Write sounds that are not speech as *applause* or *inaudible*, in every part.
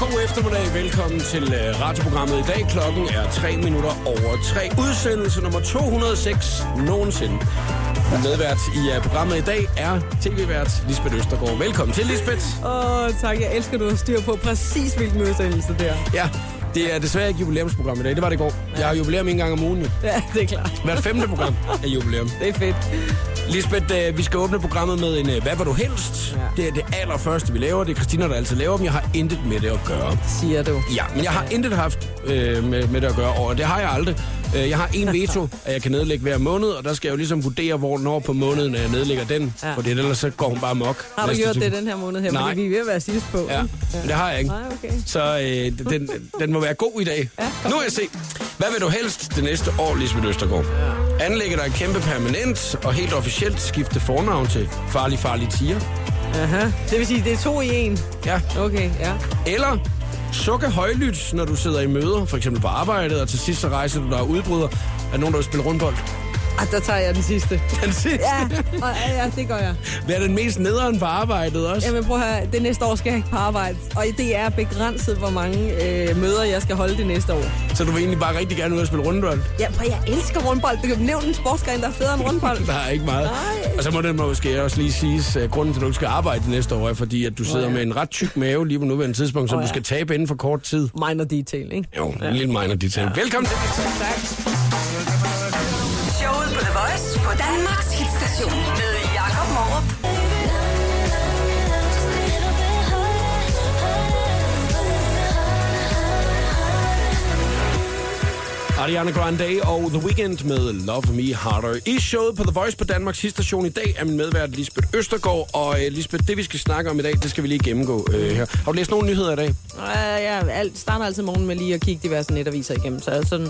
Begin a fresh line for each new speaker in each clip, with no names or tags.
God eftermiddag. Velkommen til øh, radioprogrammet i dag. Klokken er 3 minutter over 3. Udsendelse nummer 206 nogensinde. Medvært i øh, programmet i dag er tv-vært Lisbeth Østergaard. Velkommen til, Lisbeth.
Åh, oh, tak. Jeg elsker, at du har styr på præcis, hvilken udsendelse det er.
Ja, det er desværre ikke jubilæumsprogram i dag. Det var det i går. Jeg har jubilæum en gang om ugen. jo.
Ja, det er klart.
Hvert femte program er jubilæum.
Det er fedt.
Lisbeth, øh, vi skal åbne programmet med en øh, Hvad var du helst?
Ja.
Det er det allerførste, vi laver. Det er Christina, der altid laver dem. Jeg har intet med det at gøre.
Siger du.
Ja, men jeg har intet haft øh, med, med det at gøre, og det har jeg aldrig. Øh, Jeg har en veto, at jeg kan nedlægge hver måned, og der skal jeg jo ligesom vurdere, hvornår på måneden øh, jeg nedlægger den, ja.
Ja.
for ellers så går hun bare mok.
Har du
næste
gjort
tur.
det den her måned her?
Nej.
Fordi vi er ved at være sidst på.
Ja,
ikke?
men det har jeg ikke.
Nej, okay.
Så øh, den, den må være god i dag. Ja, nu er jeg se. Hvad vil du helst det næste år, Lisbeth Østergaard? Ja. Anlægger dig et kæmpe permanent og helt officielt skifte fornavn til Farlig Farlig Tiger?
Aha. Det vil sige, det er to i en.
Ja.
Okay, ja.
Eller sukke højlydt, når du sidder i møder, for eksempel på arbejdet, og til sidst så rejser du dig og udbryder af nogen, der vil spille rundbold. *laughs*
Ah, der tager jeg den sidste.
Den sidste.
Ja, og, ja, ja, det gør jeg.
Hvad er den mest nederen på arbejdet også?
Jamen prøv at høre, det næste år skal jeg ikke på arbejde. Og det er begrænset, hvor mange øh, møder, jeg skal holde det næste år.
Så du vil egentlig bare rigtig gerne ud og spille rundbold? *laughs*
Ja, prøv, jeg elsker rundbold. Du kan nævne en sportsgren, der er federe end rundbold.
Der er ikke meget.
Nej.
Og så må det måske også lige siges, at grunden til, at du ikke skal arbejde det næste år, er fordi, at du sidder
ja.
med en ret tyk mave lige på nuværende tidspunkt, som
Åh,
du
ja.
skal tabe inden for kort tid.
Minor detail, ikke?
Jo, en lille minor detail. Velkommen til.
Tak.
Showet på The Voice på Danmarks hitstation med Jakob Morup.
Ariana Grande og The Weeknd med Love Me Harder. I showet på The Voice på Danmarks station i dag er min medvært Lisbeth Østergaard. Og øh, Lisbeth, det vi skal snakke om i dag, det skal vi lige gennemgå øh, her. Har du læst nogle nyheder i dag?
Øh, jeg alt, starter altid morgenen med lige at kigge diverse netaviser igennem, så jeg er sådan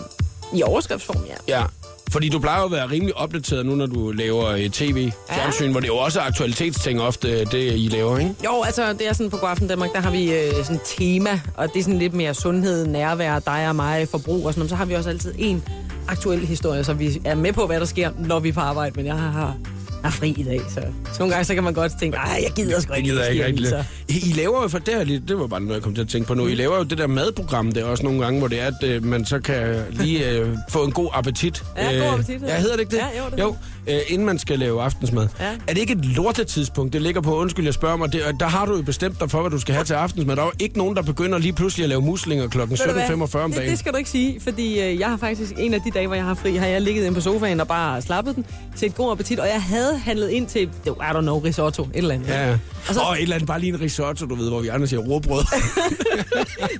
i overskriftsform, ja.
Ja. Fordi du plejer jo at være rimelig opdateret nu, når du laver øh, tv, fjernsyn, hvor det jo også er aktualitetsting ofte, øh, det I laver, ikke?
Jo, altså, det er sådan på Godaften Danmark, der har vi øh, sådan et tema, og det er sådan lidt mere sundhed, nærvær, dig og mig, forbrug og sådan noget. Så har vi også altid en aktuel historie, så vi er med på, hvad der sker, når vi er på arbejde, men jeg har, har fri i dag, så. så nogle gange så kan man godt tænke, nej, jeg gider sgu
Jeg
ikke,
gider
læse
ikke
de
rigtig
aviser." Mm.
det. I I laver jo for det, her lige- det var bare noget, jeg kom til at tænke på nu. I laver jo det der madprogram der også nogle gange, hvor det er, at øh, man så kan lige øh, få en god appetit.
Ja, god
Øh,
appetit hedder
Ja,
det.
hedder det ikke det?
Ja, jo, det
jo øh, inden man skal lave aftensmad.
Ja.
Er det ikke et lortetidspunkt, det ligger på? Undskyld, jeg spørger mig. Det, og der har du jo bestemt dig for, hvad du skal have til aftensmad. Der er jo ikke nogen, der begynder lige pludselig at lave muslinger kl.
Ved du hvad?
17.45 om
Det,
dagen.
det skal du ikke sige, fordi øh, jeg har faktisk en af de dage, hvor jeg har fri, har jeg ligget inde på sofaen og bare slappet den, set god appetit, og jeg havde handlet ind til, I don't know, risotto, et eller andet.
Ja, ja. Og,
Og så-
et eller andet, bare lige en risotto, du ved, hvor vi andre siger
*laughs*
råbrød.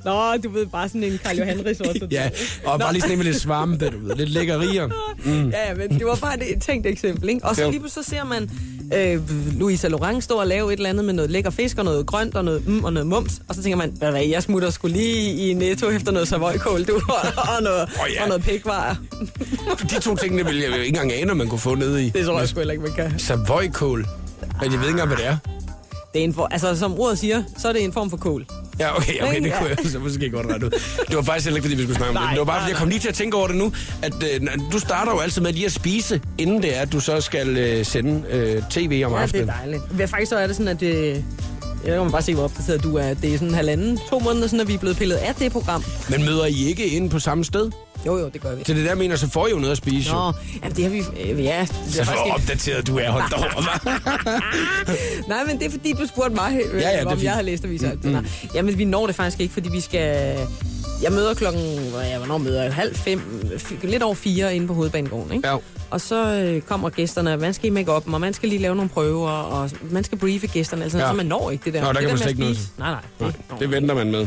Nå, du ved, bare sådan en Karl Johan risotto.
*laughs* ja, og bare lige sådan en med lidt svampe, du ved. Lidt lækkerier.
Mm. Ja, ja, men det var bare et- et tænkt eksempel, ikke? Og så
Jo.
lige pludselig så ser man øh, Louisa Laurent stå og lave et eller andet med noget lækker fisk og noget grønt og noget mm og noget mums. Og så tænker man, hvad, hvad jeg smutter skulle lige i Netto efter noget savoykål, du, *laughs* og, og noget,
Åh,
oh,
ja.
ja. og noget pikvarer.
De to ting, det ville jeg jo ikke engang ane, om man kunne få ned i.
*laughs* Det tror jeg sgu heller ikke, man kan.
Savoykål. Men jeg ved ikke engang, hvad det er.
Det er en for, altså, som ordet siger, så er det en form for kål.
Ja, okay, okay, det
Ja.
kunne jeg så måske godt rette ud. Det var faktisk heller ikke, fordi vi skulle snakke om det.
Nej,
Det var bare, fordi jeg
nej,
kom lige til at tænke over det nu, at øh, når- du starter jo altid med lige at spise, inden det er, at du så skal øh, sende øh, tv om aftenen.
dejligt. Hvad faktisk så er det sådan, at det... Jeg kan bare se, hvor opdateret du er. Det er sådan halvanden, to måneder siden, at vi er blevet pillet af det program.
Men møder I ikke inde på samme sted?
Jo, jo, det gør vi.
Til det der mener, så får I jo noget at spise. jo.
Nå, jamen det har vi... øh, Ja, det
Så hvor
er faktisk ikke-
opdateret du er, holdt over,
*laughs*
hva'?
Nej, men det er fordi, du spurgte mig, øh,
Ja, ja, det er
om
fint.
jeg har læst aviser. Mm, mm. Jamen, vi når det faktisk ikke, fordi vi skal... Jeg møder klokken... hvor er jeg? Hvornår møder jeg? Halv fem? f- Lidt over fire inde på hovedbanegården, ikke?
Ja.
Og så øh, kommer gæsterne, og man skal i make op, og man skal lige lave nogle prøver, og man skal briefe gæsterne, altså,
Ja.
ja. så man når ikke det der.
Nå, der
det
kan man
med
slet
at
ikke nå
spise- Nej, nej. Det, nej,
Det venter man med.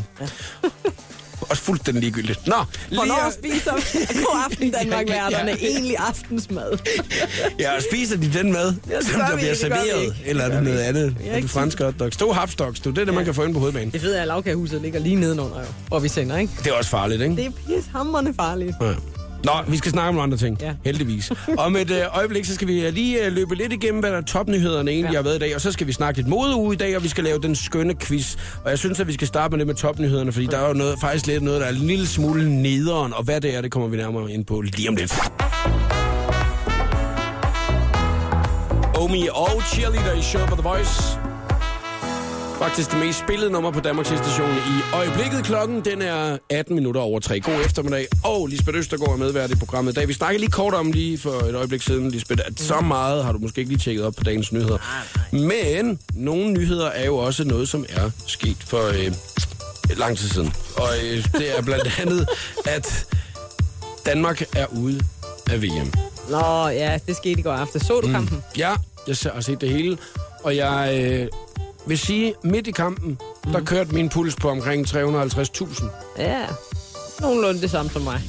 Også fuldstændig ligegyldigt. Nå,
Hvornår
at-
spiser God aften Danmark værterne
Ja.
egentlig aftensmad?
Ja, og spiser de den mad,
Ja, det
som
gør
der
vi
bliver
ikke, det gør vi
serveret?
ikke. Det
Eller er
gør
det
vi
noget andet?
Vi har
Er det
ikke
franske hotdogs? To hapsdogs, du. Det er det, man kan få ind på hovedbanen.
Det fede er, at lavkagehuset ligger lige nedenunder, jo, hvor vi sender, ikke?
Det er også farligt, ikke?
Det er pishammerende farligt.
Ja. Nå, vi skal snakke om nogle andre ting, ja.
Ja.
heldigvis. Om et øh, øjeblik, så skal vi øh, lige øh, løbe lidt igennem, hvad der er topnyhederne egentlig ja.
Ja.
har været i dag. Og så skal vi snakke lidt modeuge i dag, og vi skal lave den skønne quiz. Og jeg synes, at vi skal starte med det med topnyhederne, fordi der er jo noget, faktisk lidt noget, der er en lille smule nederen. Og hvad det er, det kommer vi nærmere ind på lige om lidt. Omi og cheerleader i Show på The Voice. Faktisk det mest spillede nummer på Danmarks station i øjeblikket. Klokken den er 18 minutter over 3. God eftermiddag. Og Lisbeth Østergaard er medvært i programmet i dag. Vi snakkede lige kort om lige for et øjeblik siden, Lisbeth, at så meget har du måske ikke lige tjekket op på dagens nyheder. Men nogle nyheder er jo også noget, som er sket for øh, lang tid siden. Og øh, det er blandt *laughs* andet, at Danmark er ude af VM.
Nå, ja, det skete i går aften. Så du mm. kampen?
Ja, jeg har set det hele, og jeg øh, vil sige, midt i kampen, mm.
Mhm.
der kørte min puls på omkring 350.000.
Ja, nogenlunde det samme som mig.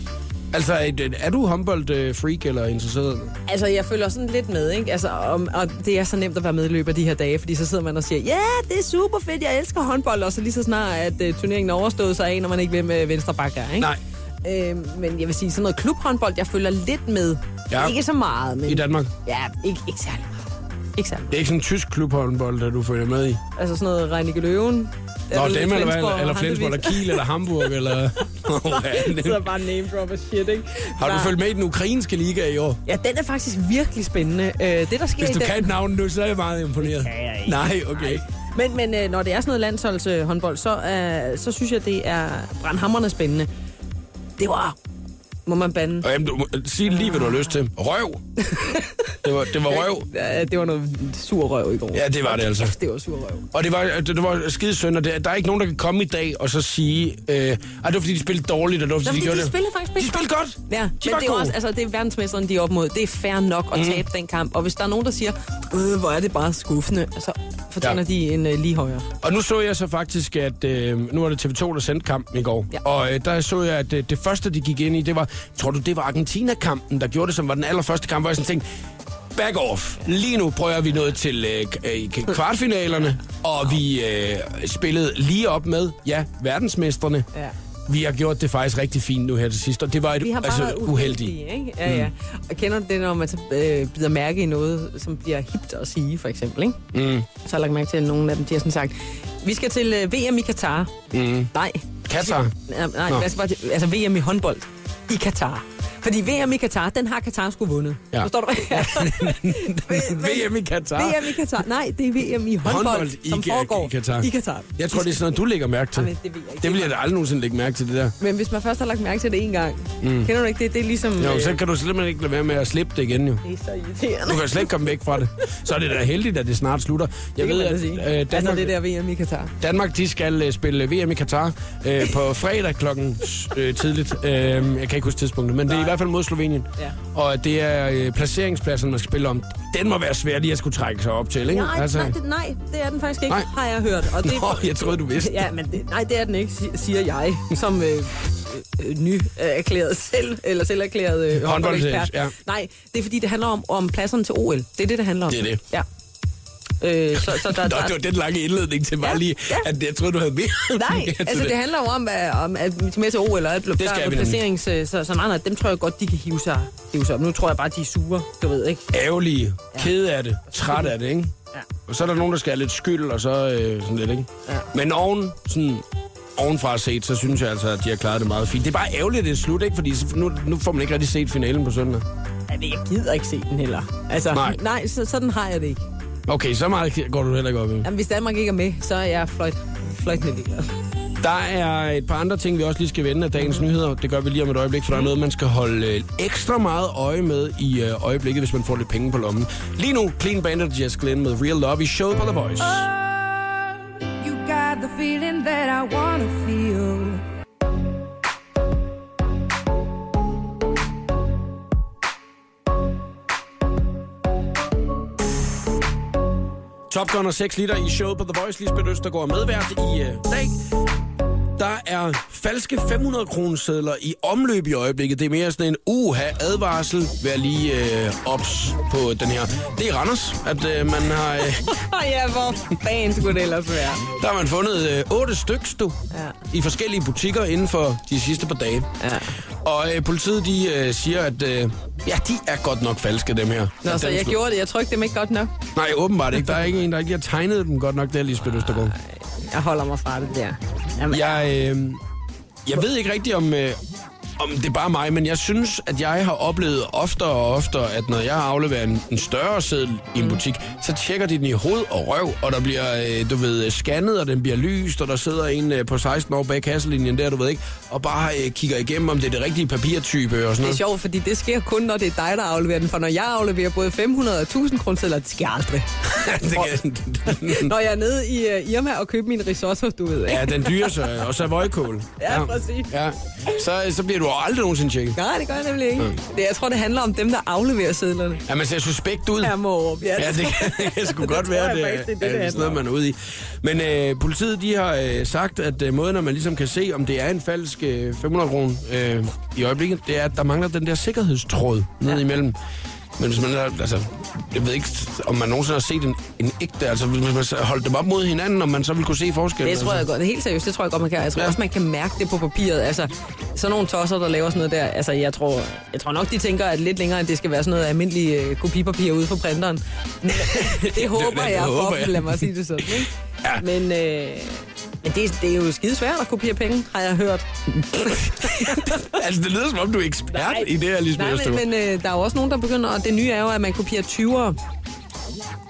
Altså, er, er du håndbold-freak eller interesseret?
Altså, jeg følger sådan lidt med, ikke? Altså, og, og det er så nemt at være medløber de her dage, fordi så sidder man og siger, ja, yeah, det er super fedt, jeg elsker håndbold, og så lige så snart, at uh, turneringen er overstået, så aner man ikke, hvem uh, venstre back er, ikke?
Nej.
Øh, men jeg vil sige, sådan noget klubhåndbold, jeg følger lidt med.
Ja.
Ikke så meget, men...
I Danmark?
Ja, ikke, ikke særlig meget. Ikke særlig
Det er ikke sådan en tysk klubhåndbold, der du følger med i?
meget. Altså sådan noget Reinicke Løven.
Nå, dem eller hvad? Eller Flensborg, eller Kiel, eller Hamburg, eller... Nå, ja,
*laughs* Så
det-
bare name drop og shit, ikke?
har du
Nej.
følt med i den ukrainske liga i år?
Ja, den er faktisk virkelig spændende. Øh, det, der sker
Hvis
i
du
den...
kan navnet nu, så er jeg meget imponeret.
kan jeg ikke.
Nej, okay.
Men, men øh, når det er sådan noget landsholdshåndbold, så, øh, så synes jeg, det er brandhammerende spændende. Det var... Må man bande?
Og jamen, du må sige lige, hvad du har lyst til.
*laughs*
Røv! Det var, det var røv.
Ja, Øh, det var noget sur røv i går.
Ja, det var det altså.
Det var sur røv.
Og det var, øh, det, det var skide synd, og det, der er ikke nogen, der kan komme i dag og så sige, øh, at det var fordi, de spillede dårligt, og det var fordi,
Nå, fordi
de gjorde
de
det.
spillede faktisk
De spillede godt.
Ja,
de
men det
var
er jo
gode. Mhm.
også, altså, det er verdensmesteren, de er op mod. Det er fair nok at tabe den kamp. Og hvis der er nogen, der siger, øh, hvor er det bare skuffende, så fortjener
Ja.
ja. de en øh, lige højere.
Og nu så jeg så faktisk, at øh, nu var det TV2, der sendte kampen i går.
Ja.
Og øh, der så jeg, at øh, det første, de gik ind i, det var, tror du, det var Argentina-kampen, der gjorde det, som var den allerførste kamp, hvor jeg sådan tænkte, back off. Lige nu prøver vi noget til øh, k- øh, k- kvartfinalerne, og vi øh, spillede lige op med, ja, verdensmestrene.
Ja.
Vi har gjort det faktisk rigtig fint nu her til sidst, og det var et,
Vi har bare
altså, Mm.
været
uheldigt.
ikke? Ja, ja. Og kender du det, når man så, øh, bider mærke i noget, som bliver hipt at sige, for eksempel, ikke?
Mm.
Så har jeg lagt mærke til, at nogle af dem, de har sådan sagt, vi skal til øh, VM i Katar. Mm. Nej.
Katar.
Ja, nej,
Nå.
altså, bare til- altså VM i håndbold i Katar. Fordi VM i Katar, den har Katar sgu vundet.
Ja. *laughs*
Forstår du? *laughs*
VM i Katar.
VM i Katar. Nej, det er VM i håndbold,
Håndbold i
som
Ka-
foregår
i Katar.
I Katar.
Jeg tror, det er sådan noget, du lægger mærke til.
Jamen, det ved jeg ikke.
Det vil jeg da aldrig nogensinde lægge mærke til, det der.
Men hvis man først har lagt mærke til det en gang, mm. kender du ikke det? Det er ligesom...
Jo,
øh,
så kan du simpelthen ikke lade være med at slippe det igen, jo.
Det er så irriterende.
Du kan slet ikke komme væk fra det. Så er det da heldigt, at det snart slutter. Jeg
Det kan
ved,
man da
at
sige.
øh, Danmark,
Altså det der VM i Katar.
Danmark de skal øh, spille VM i Katar øh, på fredag klokken øh, tidligt. Øh, jeg kan ikke huske tidspunktet, men det er i hvert fald mod Slovenien.
Ja.
Og det er øh, placeringspladserne, man skal spille om. Den må være svær lige at skulle trække sig op til, ikke?
Nej, altså... nej, det, nej, det er den faktisk ikke,
Nej.
nej. har jeg hørt. Og det,
*laughs* Nå, jeg troede, du vidste.
Ja, men det, nej, det er den ikke, si- siger jeg, som øh, øh, ny øh, erklæret selv, eller selv erklæret øh, håndboldekspert.
ja.
Nej, det er fordi, det handler om, om pladserne til OL. Det er det, det handler om.
Det er det.
Ja. Øh, så, så der,
Nå, det var den lange indledning til bare
Ja,
lige,
ja.
at jeg troede, du havde mere. *laughs* mere
Nej,
til
altså det handler jo om, at, om, at vi skal med til OL, og at det
skal
der er
vi nemlig.
placering, så, så, så nej, nej, dem tror jeg godt, de kan hive sig, hive sig op. Nu tror jeg bare, de er sure, du ved, ikke?
Ærgerlige, kede af det, træt af det, ikke?
Ja.
Og så er der nogen, der skal have lidt skyld, og så øh, sådan lidt, ikke?
Ja.
Men oven, sådan, ovenfra set, så synes jeg altså, at de har klaret det meget fint. Det er bare ærgerligt, at det er slut, ikke? Fordi så- nu, nu får man ikke rigtig set finalen på søndag.
Altså, jeg gider ikke se den heller. Altså,
Nej.
nej så, sådan har jeg det ikke.
Okay, så meget går du heller ikke op i.
Jamen, hvis Danmark ikke er med, så er jeg fløjt, fløjtende ligeglad. *laughs*
Der er et par andre ting, vi også lige skal vende af dagens nyheder. Det gør vi lige om et øjeblik, for der er noget, man skal holde øh, ekstra meget øje med i øh, øjeblikket, hvis man får lidt penge på lommen. Lige nu, Clean Bandit og Jess Glenn med Real Love i showet på The Voice.
You got the feeling that I wanna feel.
Top Gun og 6 liter i showet på The Voice. Lisbeth Østergaard er medvært i øh, dag. Der er falske 500 kronesedler i omløb i øjeblikket. Det er mere sådan en uha advarsel. Vær lige øh, ops på den her. Det er i Randers, at øh, man har... Øh,
ja, hvor fanden skulle det ellers være?
der har man fundet øh, otte stykker du,
Ja.
i forskellige butikker inden for de sidste par dage.
Ja.
Og øh, politiet, de øh, siger, at øh, ja, de er godt nok falske, dem her.
Nå,
At
så
dem
jeg
skulle-
gjorde det. Jeg trykte dem ikke godt nok.
Nej, åbenbart ikke. Der er ikke en, der ikke har tegnet dem godt nok, der Lisbeth Østergaard.
Jeg holder mig fra det der. Jamen,
Jeg, øh, jeg ved ikke rigtigt, om, øh, om det er bare mig, men jeg synes, at jeg har oplevet oftere og oftere, at når jeg afleverer en, en større seddel i en butik, så tjekker de den i hoved og røv, og der bliver, øh, du ved, øh, scannet, og den bliver lyst, og der sidder en øh, på 16 år bag kasselinjen der, du ved ikke, og bare øh, kigger igennem, om det er det rigtige papirtype og sådan
Det er
noget.
sjovt, fordi det sker kun, når det er dig, der afleverer den. For når jeg afleverer både 500 og 1000 kroner, det sker
*laughs*
aldrig.
det *laughs* kan,
Når jeg er nede i uh, Irma og køber min risotto, du ved, ikke?
ja, den dyre så, og så vøjkål.
Ja, præcis.
Ja. Så, så bliver du aldrig nogensinde tjekket.
Nej, det gør jeg nemlig ikke. Det, jeg tror, det handler om dem, der afleverer sedlerne.
Mm. Ja, man ser suspekt ud.
Ja, Mårup. Ja,
Ja, det kan, det kan sgu
*laughs* Det
godt
tror
være,
jeg
det, det,
faktisk, det er
det,
det, det
det er
handler
sådan noget, man er ude i. Men øh, politiet de har øh, sagt, at øh, måden, at man ligesom kan se, om det er en falsk øh, 500 kroner øh, i øjeblikket, det er, at der mangler den der sikkerhedstråd ned imellem. Men hvis man har, altså, jeg ved ikke, om man nogensinde har set en, en ægte, altså hvis man så holdt dem op mod hinanden, om man så ville kunne se forskellen.
Det tror jeg
altså.
godt. Helt seriøst, det tror jeg godt, man kan. Jeg tror
Ja.
ja. også, man kan mærke det på papiret. Altså, sådan nogle tosser, der laver sådan noget der. Altså, jeg tror, jeg tror nok, de tænker, at lidt længere, end det skal være sådan noget almindeligt øh, kopipapir ude fra
*laughs*
printeren. Men det håber
det
det, jeg,
håber
for
jeg.
dem, lad mig sige det sådan, ikke?
Ja.
Men, øh, men det, det er jo skidesvært at kopiere penge, har jeg
*laughs*
hørt.
Altså, det lyder som om, du er ekspert Nej. i det her, Lisbeth
Nej,
Østergaard.
men, men øh, der er jo også nogen, der begynder, og det nye er jo, at man kopierer 20'ere.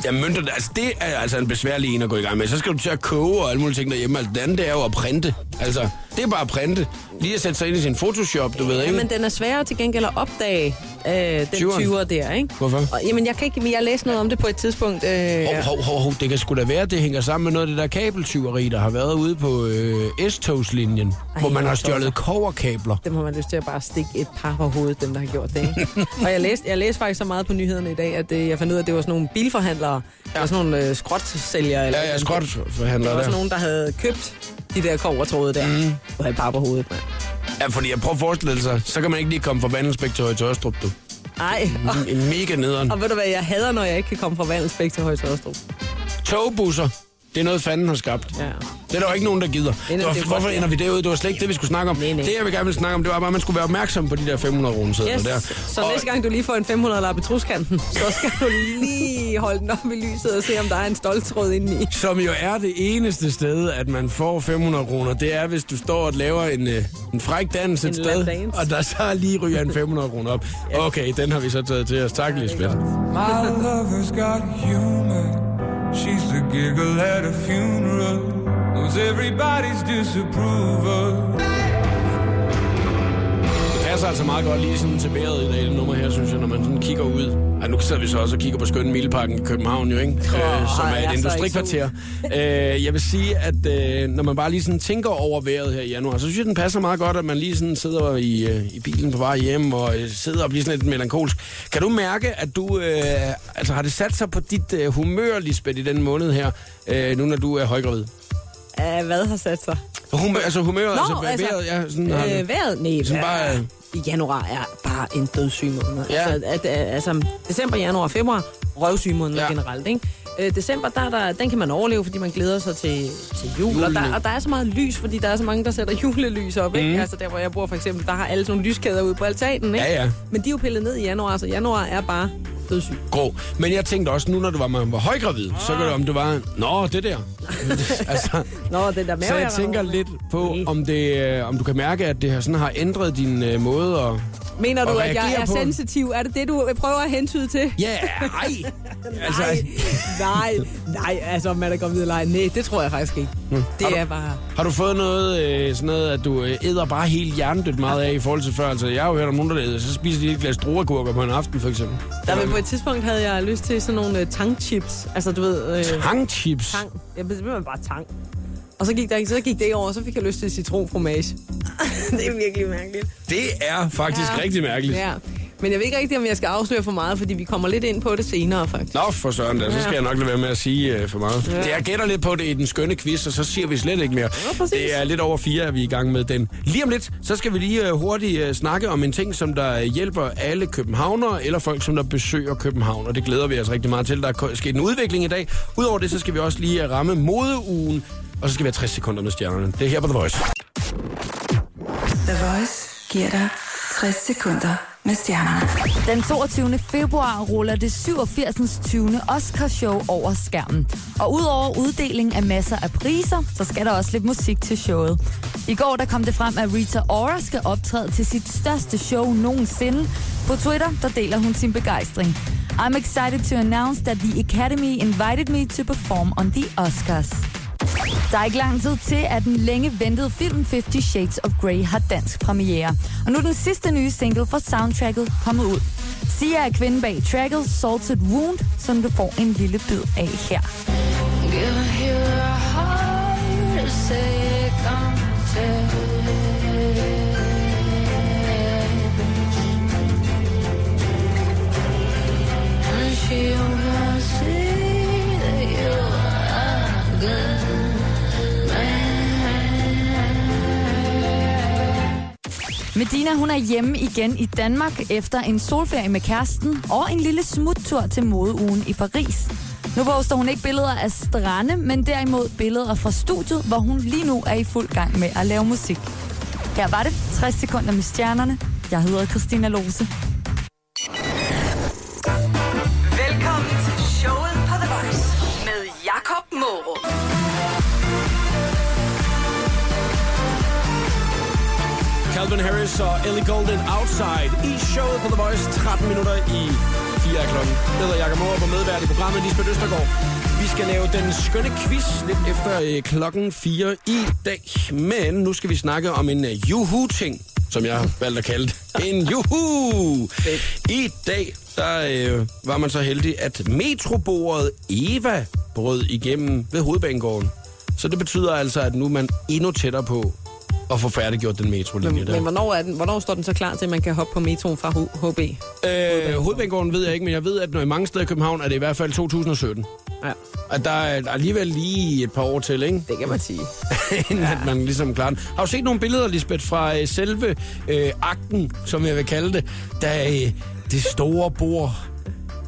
Ja, mønterne, altså det er altså en besværlig en at gå i gang med. Så skal du til at koge og alle mulige ting derhjemme. Altså, det andet det er jo at printe. Altså, det er bare at printe. Lige at sætte sig ind i sin Photoshop, du ved ikke?
Jamen, den er sværere til gengæld at opdage, øh, den
20'eren.
20'er der, ikke?
Hvorfor?
Og, jamen, jeg kan ikke, men jeg læste noget om det på et tidspunkt. Øh,
Hov, hov, hov, hov, det kan sgu da være, at det hænger sammen med noget af det der kabeltyveri, der har været ude på øh, S-togslinjen, hvor man
hvor
har
tosset.
stjålet koverkabler.
dem har man lyst til at bare stikke et par på hovedet, dem der har gjort det. Ikke? og jeg læste, jeg læste faktisk så meget på nyhederne i dag, at øh, jeg fandt ud af, at det var sådan nogle bilforhandlere, ja. og sådan nogle øh, skrotsælgere. Eller
Ja, ja,
Der
skrotforhandler
var
der.
sådan nogen, der havde købt de der kovertråde der, mm. og et par på hovedet, mand.
Ja, fordi jeg prøver at forestille sig, så kan man ikke lige komme fra Vandelsbæk til Høje Tørstrup, du.
Ej, og,
En mega nederen.
og ved du hvad, jeg hader, når jeg ikke kan komme fra Vandelsbæk til Højs Østrup.
Togbusser, det er noget, fanden har skabt.
Ja.
Det er der jo ikke nogen, der gider.
er
Det var,
det, det er
hvorfor
godt, ja.
ender vi derude? Det var slet ikke det, vi skulle snakke om.
Nej, nej.
Det, jeg vil gerne ville snakke om, det var bare, at man skulle være opmærksom på de der 500 kroner sædler
Yes.
der.
Så
Og-
næste gang du lige får en 500 lap i truskanten, så skal du lige holde den op i lyset og se, om der er en stoltråd indeni.
Som jo er det eneste sted, at man får 500 kroner, det er, hvis du står og laver en, øh, en fræk dans et
En
sted,
lapdance.
og der så lige ryger en 500 kroner op. Okay, den har vi så taget til os. Tak, Lisbeth.
My lover's got humor. She's the giggle at a funeral. Knows everybody's disapproval.
Det passer altså meget godt lige sådan til vejret i dag, det nummer her, synes jeg, når man sådan kigger ud. Ej, nu sidder vi så også og kigger på skønne Mileparken i København, jo, ikke? øh, som
jeg
er et
er så
industrikvarter. øh, jeg vil sige, at øh, når man bare lige sådan tænker over vejret her i januar, så synes jeg, den passer meget godt, at man lige sådan sidder i, øh, i bilen på vej hjem og øh, sidder og bliver sådan lidt melankolsk. Kan du mærke, at du øh, altså, har det sat sig på dit øh, humør, Lisbeth, i den måned her, øh, nu når du er højgravid?
Uh, hvad har sat sig?
Humør, altså humøret, altså, vejret, ja, sådan, har det.
øh, vejret, nej,
Sådan
vejret,
bare,
bare,
øh,
januar er bare en dødssyg måned.
Ja.
Ja. Altså, at, øh, altså, december, januar, februar, røvsyge måneder
Ja.
ja. generelt, ikke? Øh, december, der, er der, den kan man overleve, fordi man glæder sig til, til jul. Og
Julene. Mhm.
der, og der er så meget lys, fordi der er så mange, der sætter julelys op. Ikke? Altså der, hvor jeg bor for eksempel, der har alle sådan nogle lyskæder ude på altanen. Ikke?
Ja, ja.
Men de er jo pillet ned i januar, så januar er bare dødssyg.
grå. Men jeg tænkte også, nu når du var, man var højgravid, så kan det om det var, nå, det
*laughs*
der. altså,
Nå, den der mave,
så jeg
render
tænker
rundt med.
lidt på,
Mm.
om, det, øh, om du kan mærke, at det her sådan har ændret din øh, måde at...
Mener du,
og
at jeg
reagerer
er
på den.
sensitiv? Er det det, du prøver at hentyde til?
Ja, yeah, ej! altså,
*laughs* Nej, nej, nej, altså om man er gravid eller ej. Nej, det tror jeg faktisk ikke.
Mm. Har du-
Det er bare...
har du fået noget, øh, sådan noget, at du øh, æder bare helt hjernedødt meget af i forhold til før? Altså, jeg har jo hørt om nogen, der æder, så spiser de et glas druekurker på en aften, for eksempel.
Der men på et tidspunkt havde jeg lyst til sådan nogle øh, tangchips. Altså, du ved... Øh,
Hangchips.
tang. Jeg ved simpelthen bare tang. Og så gik, der, så gik det over, og så fik jeg lyst til citronfromage. *laughs* det er virkelig mærkeligt.
Det er faktisk
Ja.
rigtig mærkeligt.
Ja. Men jeg ved ikke rigtig, om jeg skal afsløre for meget, fordi vi kommer lidt ind på det senere, faktisk.
Nå, for søren da, så skal
Ja.
jeg nok lade være med at sige øh, for meget. Ja. Jeg gætter lidt på det i den skønne quiz, og så siger vi slet ikke mere.
Ja, præcis.
det er lidt over fire, at vi er i gang med den. Lige om lidt, så skal vi lige øh, hurtigt øh, snakke om en ting, som der øh, hjælper alle københavnere, eller folk, som der besøger København, og det glæder vi os rigtig meget til. Der er ko- sket en udvikling i dag. Udover det, så skal vi også lige øh, ramme modeugen, og så skal vi have 60 sekunder med stjernerne. Det er her på The Voice.
The Voice giver dig 60 sekunder med stjernerne.
Den 22. februar ruller det 87. 20. Oscar-show over skærmen. Og udover uddeling af masser af priser, så skal der også lidt musik til showet. I går der kom det frem, at Rita Ora skal optræde til sit største show nogensinde. På Twitter der deler hun sin begejstring. I'm excited to announce that the Academy invited me to perform on the Oscars. Der er ikke lang tid til, at den længe ventede film 50 Shades of Grey har dansk premiere. Og nu er den sidste nye single fra soundtracket kommet ud. Sia er kvinden bag tracket Salted Wound, som du får en lille bid af her. Medina, hun er hjemme igen i Danmark efter en solferie med kæresten og en lille smuttur til modeugen i Paris. Nu poster hun ikke billeder af strande, men derimod billeder fra studiet, hvor hun lige nu er i fuld gang med at lave musik. Her var det 60 sekunder med stjernerne. Jeg hedder Christina Lose.
Velkommen til showet på The Voice med Jakob Morup.
Calvin Harris og Ellie Golden Outside i showet på The Voice. 13 minutter i 4 af klokken. Jeg hedder Jakob Moore på medvært i programmet Lisbeth Østergaard. Vi skal lave den skønne quiz lidt efter øh, klokken 4 i dag. Men nu skal vi snakke om en øh, juhu-ting, som jeg har valgt at kalde det. En juhu! I dag der øh, var man så heldig, at metrobordet Eva brød igennem ved hovedbanegården. Så det betyder altså, at nu er man endnu tættere på at få færdiggjort den metrolinje
Men,
der.
men hvornår, er den, hvornår står den så klar til, at man kan hoppe på metroen fra H- HB?
Øh, hovedbanegården ved jeg ikke, men jeg ved, at når i mange steder i København er det i hvert fald 2017.
Ja,
At der er alligevel lige et par år til, ikke? *laughs*
det kan man sige.
Inden at man ligesom klarer den. Har du set nogle billeder, Lisbeth, fra øh, selve øh, akten, som jeg vil kalde det, da øh, det store bord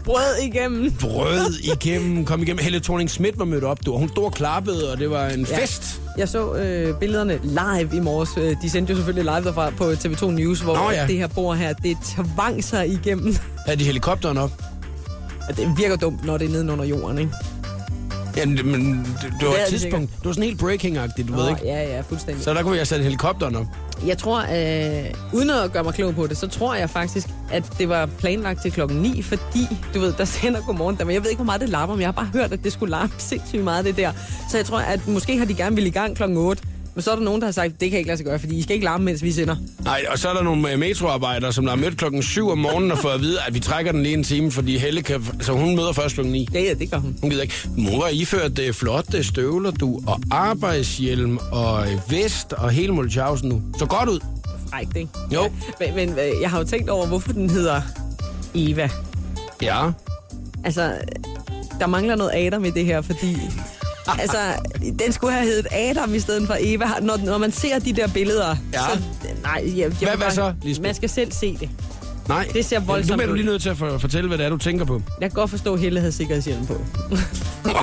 Brød igennem.
brød igennem, kom igennem. Helle thorning Schmidt var mødt op, du. Hun stod og klappede, og det var en ja.
Ja.
fest.
Jeg så øh, billederne live i morges. Øh, De sendte jo selvfølgelig live derfra på TV2 News, hvor
Nå
Nå,
ja.
ja. det her bord her, det tvang sig igennem.
Havde de helikopteren op?
Og Det virker dumt, når det er nede under jorden, ikke?
Ja, men det, det var
Ja,
et
det
tidspunkt. Det var sådan helt breaking-agtigt, du ved ikke?
Ja, ja, fuldstændig. Så...
Så der kunne jeg sætte helikopteren op.
Jeg tror, øh, uden at gøre mig klog på det, så tror jeg faktisk, at det var planlagt til klokken 9, fordi, du ved, der sender godmorgen der, men jeg ved ikke, hvor meget det larmer, men jeg har bare hørt, at det skulle larme *laughs* sindssygt meget, det der. Så jeg tror, at måske har de gerne ville i gang klokken 8, men så er der nogen, der har sagt, det kan ikke lade sig gøre, fordi I skal ikke larme, mens vi sender.
Nej, og så er der nogle øh, metroarbejdere, som der har mødt klokken 7 om morgenen og fået at vide, at vi trækker den lige en time, fordi Helle kan... Så hun møder først klokken 9.
Ja, ja, det gør hun.
Hun gider ikke. Mor har iført øh, flotte støvler, du, og arbejdshjelm, og øh, vest, og hele Mulchausen nu. Så godt ud.
frækt, ikke?
Jo.
Men, men øh, jeg har jo tænkt over, hvorfor den hedder Eva.
Ja.
Altså, der mangler noget Adam i det her,
*laughs*
fordi... altså, den skulle have heddet Adam i stedet for Eva. Når, når man ser de der billeder,
Ja.
så... Nej, jeg, jeg
Hvad- hvad så, Lisbeth?
Man skal selv se det.
Nej.
Det ser voldsomt
Nu bliver du
ud.
lige nødt til at for, fortælle, hvad det er, du tænker på. *laughs*
Jeg kan godt forstå, at Helle havde sikkerhedshjelm på.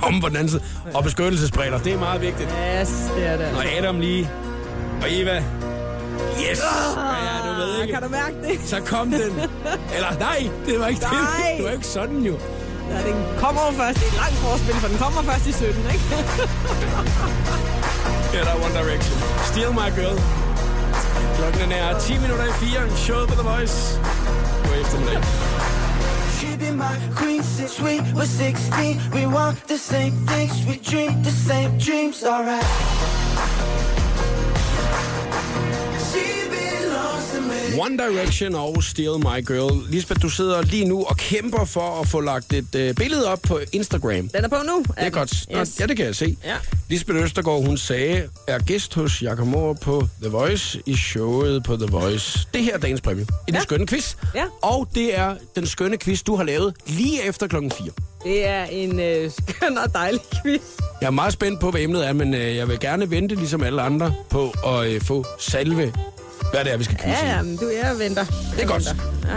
Om på den anden side. Og beskyttelsesbriller. Det er meget vigtigt.
yes, det er det.
Og Adam lige. Og Eva. Yes! Ja, ja, du ved ikke.
Ah, Kan du mærke det?
Så kom
*laughs*
den. Eller nej, det var ikke
Nej.
det. Det var ikke sådan jo.
Ja, den kommer jo først. Det er et langt forspil, for den kommer først i 17, ikke?
Ja, der er One Direction. Steal my girl. Klokken er nær 10 minutter i 4. Showet på The Voice. På eftermiddag.
She been my queen since we were 16. We want the same things, we dream the same dreams, alright. She belongs to me.
One Direction og Steal My Girl. Lisbeth, du sidder lige nu og kæmper for at få lagt et øh, billede op på Instagram.
Den er på nu.
Det er godt. Nå,
Yes.
ja, det kan jeg se.
Ja.
Lisbeth Østergaard, hun sagde, er gæst hos Jakob Mohr på The Voice i showet på The Voice. Det her er dagens præmie. I den
Ja.
skønne quiz.
Ja.
Og det er den skønne quiz, du har lavet lige efter klokken 4.
Det er en øh, skøn og dejlig quiz.
Jeg er meget spændt på, hvad emnet er, men øh, jeg vil gerne vente, ligesom alle andre, på at øh, få salve, hvad det er, vi skal quizze. i.
Ja, ja, men du jeg venter.
Det er godt.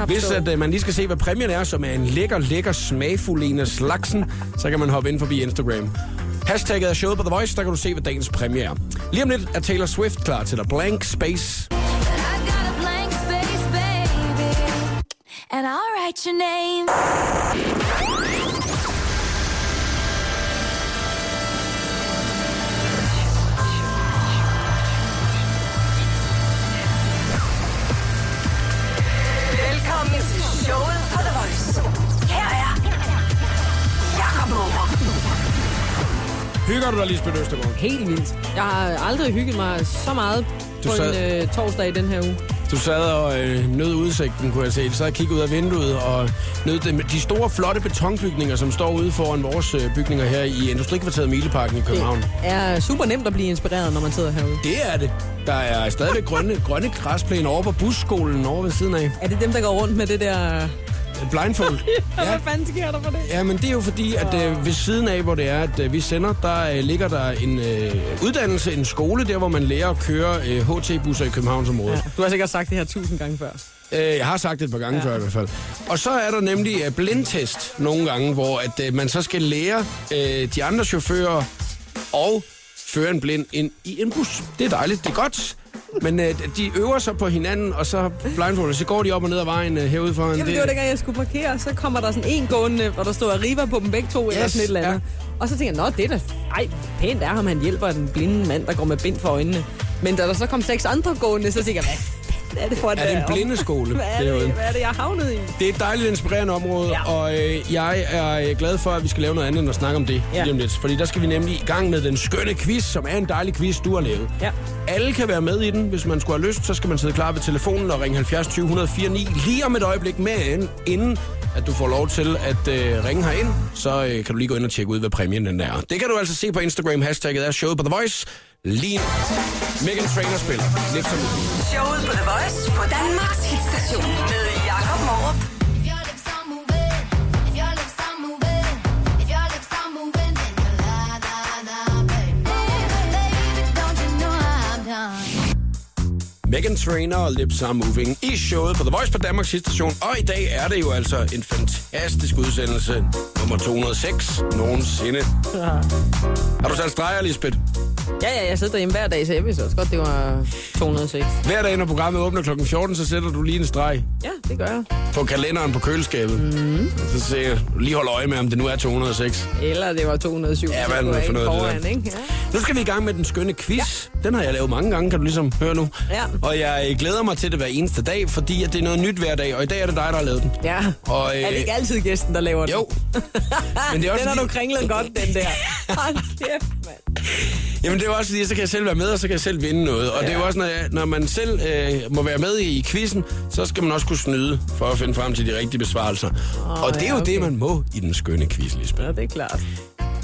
Hvis at, øh, man lige skal se, hvad præmien er, som er en lækker, lækker, smagfuld en af slagsen, så kan man hoppe ind forbi Instagram. Hashtagget er showet på The Voice, der kan du se, hvad dagens præmie er. Lige om lidt er Taylor Swift klar til dig. Blank Space.
write your name.
Velkommen til showet på The Voice. Her er Jakob Møller.
Hygger du dig, Lisbeth Østergaard?
Helt vildt. Jeg har aldrig hygget mig så meget
øh, Du
på
sad-
en øh, torsdag i den her uge.
Du sad og øh, nød udsigten, kunne jeg se. Du sad og kiggede ud af vinduet og nød dem. de store, flotte betonbygninger, som står ude foran vores øh, bygninger her i Industrikvarteret Mileparken i København.
Det er super nemt at blive inspireret, når man sidder herude.
Det er det. Der er stadigvæk grønne, grønne græsplæne over på busskolen over ved siden af.
Er det dem, der går rundt med det der...
Blindfold.
Hvad fanden sker der for det?
Ja, men det er jo fordi, at øh, ved siden af, hvor det er, at øh, vi sender, der øh, ligger der en øh, uddannelse, en skole, der hvor man lærer at køre øh, HT-busser i Københavnsområdet.
Du har sikkert sagt det her tusind gange før.
Øh, jeg har sagt det et par gange ja. før i hvert fald. Og så er der nemlig øh, blindtest nogle gange, hvor at, øh, man så skal lære øh, de andre chauffører og føre en blind ind i en bus. Det er dejligt, det er godt. Men øh, de øver sig på hinanden, og så blindfoldet, så går de op og ned ad vejen øh, herude foran.
Jamen, det var dengang, jeg skulle parkere, så kommer der sådan en gående, hvor der stod Arriva på dem begge to, yes, eller
Yes,
sådan et eller andet. Ja. Og så tænker jeg, nå, det er da ej, pænt er ham, han hjælper den blinde mand, der går med bind for øjnene. Men da der så kom seks andre gående, så tænker jeg, hvad fanden er det for et øh,
er det en
værv?
blindeskole?
*laughs* Hvad er
derude?
det, hvad er det jeg er havnet i?
Det er et dejligt inspirerende område, ja.
Ja.
og øh, jeg er øh, glad for, at vi skal lave noget andet end at snakke om det ja.
Ja.
lige om lidt. Fordi der skal vi nemlig i gang med den skønne quiz, som er en dejlig quiz, du har lavet.
Ja.
Alle kan være med i den. Hvis man skulle have lyst, så skal man sidde klar ved telefonen og ringe 70 20 104 9 lige om et øjeblik. Men inden at du får lov til at øh, ringe herind, så øh, kan du lige gå ind og tjekke ud, hvad præmien den er. Det kan du altså se på Instagram. Hashtagget er showet på The Voice. Lige nu. Megan Trainor spiller. Lidt som
Showet på The Voice på Danmarks hitstation med Jakob Morup.
If your lips are moving, if your lips are moving, if your lips are moving, then you're la la la, baby. Baby, don't you know I'm done?
Megan Trainer og Lips Are Moving i showet på The Voice på Danmarks station. Og i dag er det jo altså en fantastisk udsendelse. Nummer 206 nogensinde. Har du sat streger, Lisbeth?
Ja, ja, jeg sidder derhjemme hver dag, så jeg vidste også godt, det var 206.
Hver dag, når programmet åbner kl. 14, så sætter du lige en streg
Ja, det gør jeg.
på kalenderen på køleskabet. Mm. Så ser jeg, lige holde øje med, om det nu er 206.
Eller det var 207.
Ja,
så
hvad er det
kunne
nu
jeg
for
ikke
noget, det
foran,
der?
ikke? Ja.
Nu skal vi i gang med den skønne quiz. Ja. Den har jeg lavet mange gange, kan du ligesom høre nu.
Ja.
Og jeg glæder mig til det hver eneste dag, fordi at det er noget nyt hver dag. Og i dag er det dig, der har lavet den.
ja.
Og,
Og, øh...
øh,
Er det ikke altid gæsten, der laver den?
Jo. Men
*laughs*
det er også
den har
fordi-
du
*laughs*
kringlet godt, den der. Hold kæft, mand.
Jamen det er jo også fordi, så kan jeg selv være med, og så kan jeg selv vinde noget. Og ja. det er jo også, når, jeg, når man selv øh, må være med i quizzen, så skal man også kunne snyde for at finde frem til de rigtige besvarelser. Oh, og det er
ja,
jo
okay.
det, man må i den skønne quiz, Lisbeth.
Ja, det er klart.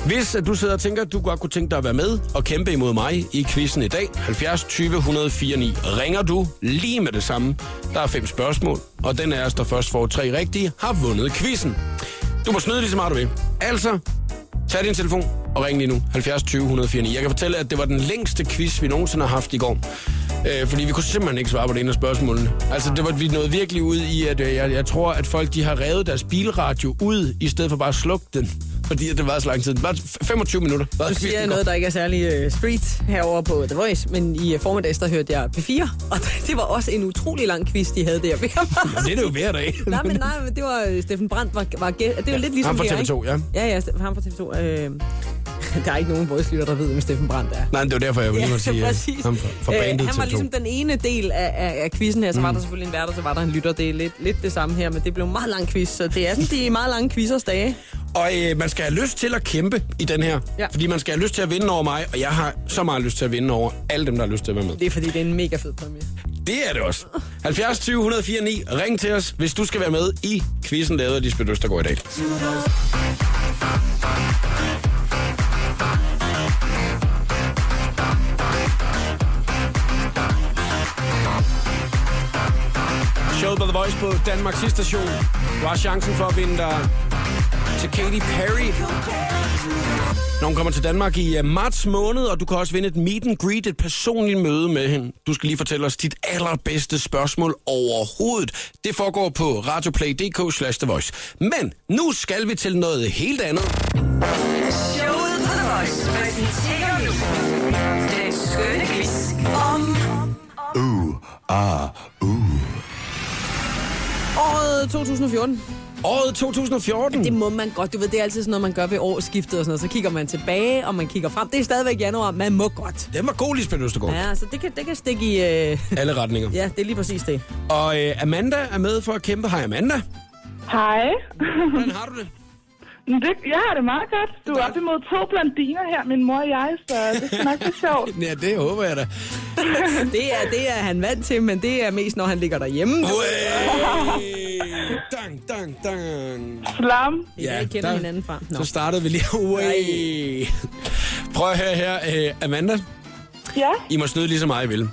Hvis at du sidder og tænker, at du godt kunne tænke dig at være med og kæmpe imod mig i quizzen i dag, 70 20 104 9, ringer du lige med det samme. Der er fem spørgsmål, og den af os, der først får tre rigtige, har vundet quizzen. Du må snyde lige så meget du vil. Altså, tag din telefon og ring lige nu, 70 20 104 9. Jeg kan fortælle, at det var den længste quiz, vi nogensinde har haft i går. Øh, fordi vi kunne simpelthen ikke svare på det ene af spørgsmålene. Altså, det var, vi nåede virkelig ud i, at øh, jeg, jeg tror, at folk de har revet deres bilradio ud, i stedet for bare at slukke den. Fordi at det var så lang tid. Det var 25 minutter. Var
Du siger noget, der ikke er særlig øh, street herover på The Voice, men i øh, formiddags, der hørte jeg P4, og *laughs* det var også en utrolig lang quiz, de havde der.
Det er det jo hver dag.
*laughs* nej, men nej, men det var øh, Steffen Brandt, var, var gæ- det er jo lidt ligesom
ham fra
her,
TV2,
ikke? Ja, ja, Ste- ham fra TV2. Øh, *laughs* der er ikke nogen voice der ved, hvem Steffen Brandt er.
Nej, men det var derfor, jeg ville lige måtte sige,
præcis.
at ham fra, fra
Øh,
bandet Mm.
Han
til
var ligesom den ene del af, af, af quizzen her, så var der selvfølgelig en vært, og så var der en lytter. Det er lidt, lidt det samme her, men det blev en meget lang quiz, så det er sådan de meget lange quizzers dage.
Og øh, man skal have lyst til at kæmpe i den her.
Ja.
Fordi man skal have lyst til at vinde over mig, og jeg har så meget lyst til at vinde over alle dem, der har lyst til at være med.
Det er fordi, det er en mega fed præmie.
Det er det også. 70 20 104 9. Ring til os, hvis du skal være med i quizzen lavet af Lisbeth Østergaard i dag. Showet på The Voice på Danmarks sidste station. Du har chancen for at vinde dig til Katy Perry. Når hun kommer til Danmark i øh, marts måned, og du kan også vinde et meet and greet, et personligt møde med hende. Du skal lige fortælle os dit allerbedste spørgsmål overhovedet. Det foregår på radioplay.dk slash The Voice. Men nu skal vi til noget helt andet.
Showet på The Voice præsenterer nu den skønne quiz om
Året Året 2014.
Året 2014.
Det må man godt. Du ved, det er altid sådan noget, man gør ved årsskiftet og sådan noget. Så kigger man tilbage, og man kigger frem. Det er stadigvæk januar. Man må godt.
Den var god, Lisbeth Østergaard. Ja.
Ja, så det kan, det kan stikke i... Øh...
Alle retninger.
Ja, det er lige præcis det.
Og øh, Amanda er med for at kæmpe. Hej Amanda.
Hej.
Hvordan har du det?
*laughs* Men det, jeg har det meget godt. Du er op imod to blandiner her, min mor og jeg, så det skal nok blive
*laughs*
sjovt.
Ja, det håber jeg da.
Det er, det er han vant til, men det er mest, når han ligger derhjemme.
Uæh! Dang, dang, dang.
Slam.
Det er, ja, jeg kender der... hinanden fra. Nå.
Så startede vi lige. *laughs* Uæh! Prøv at høre her, øh, Amanda.
Ja,
I må snyde lige så meget, I vil.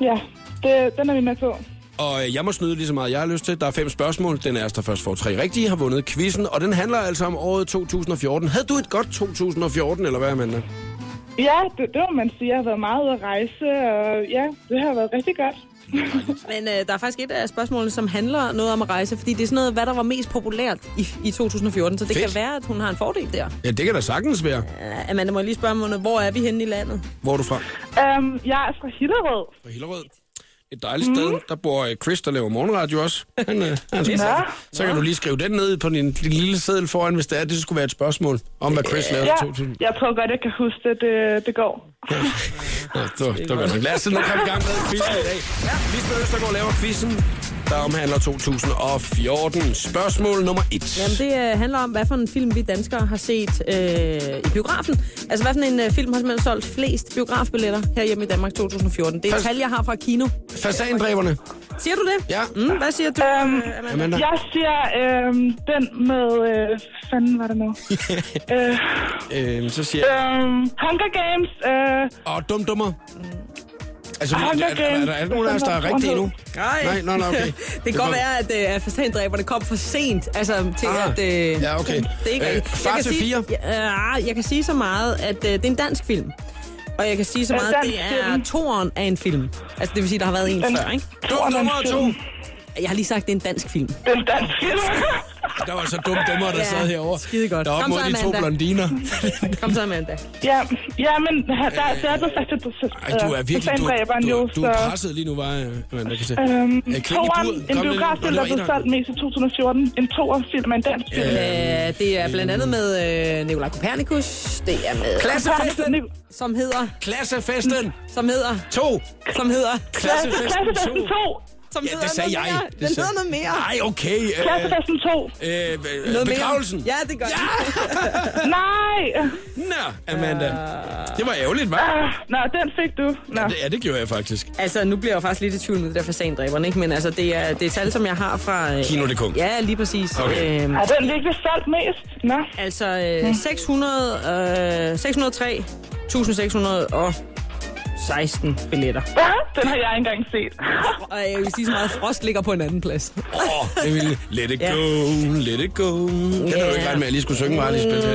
ja. Det, den er vi med på.
Og øh, jeg må snyde lige så meget, jeg har lyst til. Der er fem spørgsmål. Den er altså, der først får tre rigtige, har vundet quizzen. Og den handler altså om året 2014. Havde du et godt 2014, eller hvad, Amanda?
Ja, det, det må man sige. Jeg har været meget ude at rejse, og ja, det har været rigtig godt.
Men øh, der er faktisk et af spørgsmålene, som handler noget om at rejse, fordi det er sådan noget, hvad der var mest populært i, i 2014, så det
Fedt.
kan være, at hun har en fordel der.
Ja, det kan da sagtens være.
Uh, Amanda, må jeg lige spørge mig, hvor er vi henne i landet?
Hvor er du fra?
Um, jeg er fra Hillerød.
Fra Hillerød. Et dejligt sted. Der bor øh, Chris, der laver morgenradio også. Han, øh, han,
Mhm. Ja,
så kan du lige skrive den ned på din lille seddel foran, hvis det er, det skulle være et spørgsmål om, hvad Chris lavede
Øh, ja.
i 2000.
Jeg tror godt, jeg kan huske det. Det, det går.
Ja, det var godt nok. Lad os nu komme i gang med quizzen i dag. Lisbeth Østergaard laver quizzen, der omhandler 2014. Spørgsmål nummer 1.
Jamen, det øh, handler om, hvad for en film vi danskere har set øh, i biografen. Altså, hvad for en øh, film har simpelthen solgt flest biografbilletter her hjemme i Danmark 2014? Det er et
Fast-
tal, jeg har fra Kino.
Fasandræberne.
Siger du det?
Ja.
Mm, hvad siger du,
Øhm,
øh, Amanda?
Amanda.
Jeg siger øhm, den med... Øh, hvad fanden var det nu? øh,
Øhm, så siger jeg...
øhm, Hunger Games. Øh,
Og dum dummer. Altså,
Hold da
er, er, er, der- er der nogen af os, der er rigtige endnu?
Nej.
Nej, nej, nej, okay.
*laughs* Det kan godt være, at øh, fasandræberne kom for sent, altså til
Ah,
at... Øh,
ja, okay.
*laughs* Det er ikke
Øh,
rigtigt.
Far
Jeg kan
til
sige-
fire?
Ja, øh, jeg kan sige så meget, at øh, det er en dansk film. Og jeg kan sige så
En
meget, at det
dansk
er
film.
toren af en film. Altså, det vil sige, der har været en før, ikke?
Dum dummer to.
Jeg har lige sagt, at det er en dansk film.
Den danske film.
Der var så dumme dummer, der
Ja,
sad herovre.
skide godt.
Der op
Kom
mod
så,
de to
Amanda.
blondiner.
Kom så, Amanda.
ja, ja, men ha- der, der er blevet sagt, at du, øh,
Ej, du er virkelig... Du,
fasandræberen
du,
jo,
du, du
så...
er presset lige nu, var Amanda, kan jeg se.
Øhm,
Øh, Kvind i
toeren,
buret.
en
Kom,
biograffilm,
det
der
var
blev
eneren.
solgt mest i 2014. En toerfilm af en dansk film.
Øhm,
Øh, det er blandt andet med øh, Nikolaj Kopernikus. Det er med...
Klassefesten!
Som hedder...
Klassefesten!
Som hedder...
To!
Som hedder...
Klassefesten 2!
Klassefesten 2!
Som
Ja, det sagde
noget
jeg.
Mere.
Det
Den
sagde-
hedder noget mere.
Ej, okay. øh,
Klassefesten 2!
Øh, øh,
Noget mere.
begravelsen.
Ja, det gør ja!
Nej!
Nå, Amanda.
Øh.
Det var ærgerligt, hva'?
Ah, Nå, den fik du. Nå.
Ja, det- Ja, det gjorde jeg faktisk.
Altså, nu bliver jeg jo faktisk lidt i tvivl med det der fasandræberne, ikke? Men altså, det er, det er tal, som jeg har fra... Øh,
Kino.dk.
Ja, lige præcis.
Okay.
Øhm,
Ej, den virkelig solgt mest. Nå.
altså, øh, 600, øh, 603, 1616 billetter.
Ja, den har jeg ikke engang set.
Og jeg vil sige så meget, at Frost ligger på en anden plads.
Åh, oh, det ville... Let it
Ja.
go, let it go. Den er jo ikke
Ja.
regnet med, at jeg lige skulle synge mig, Lisbeth.
Øh,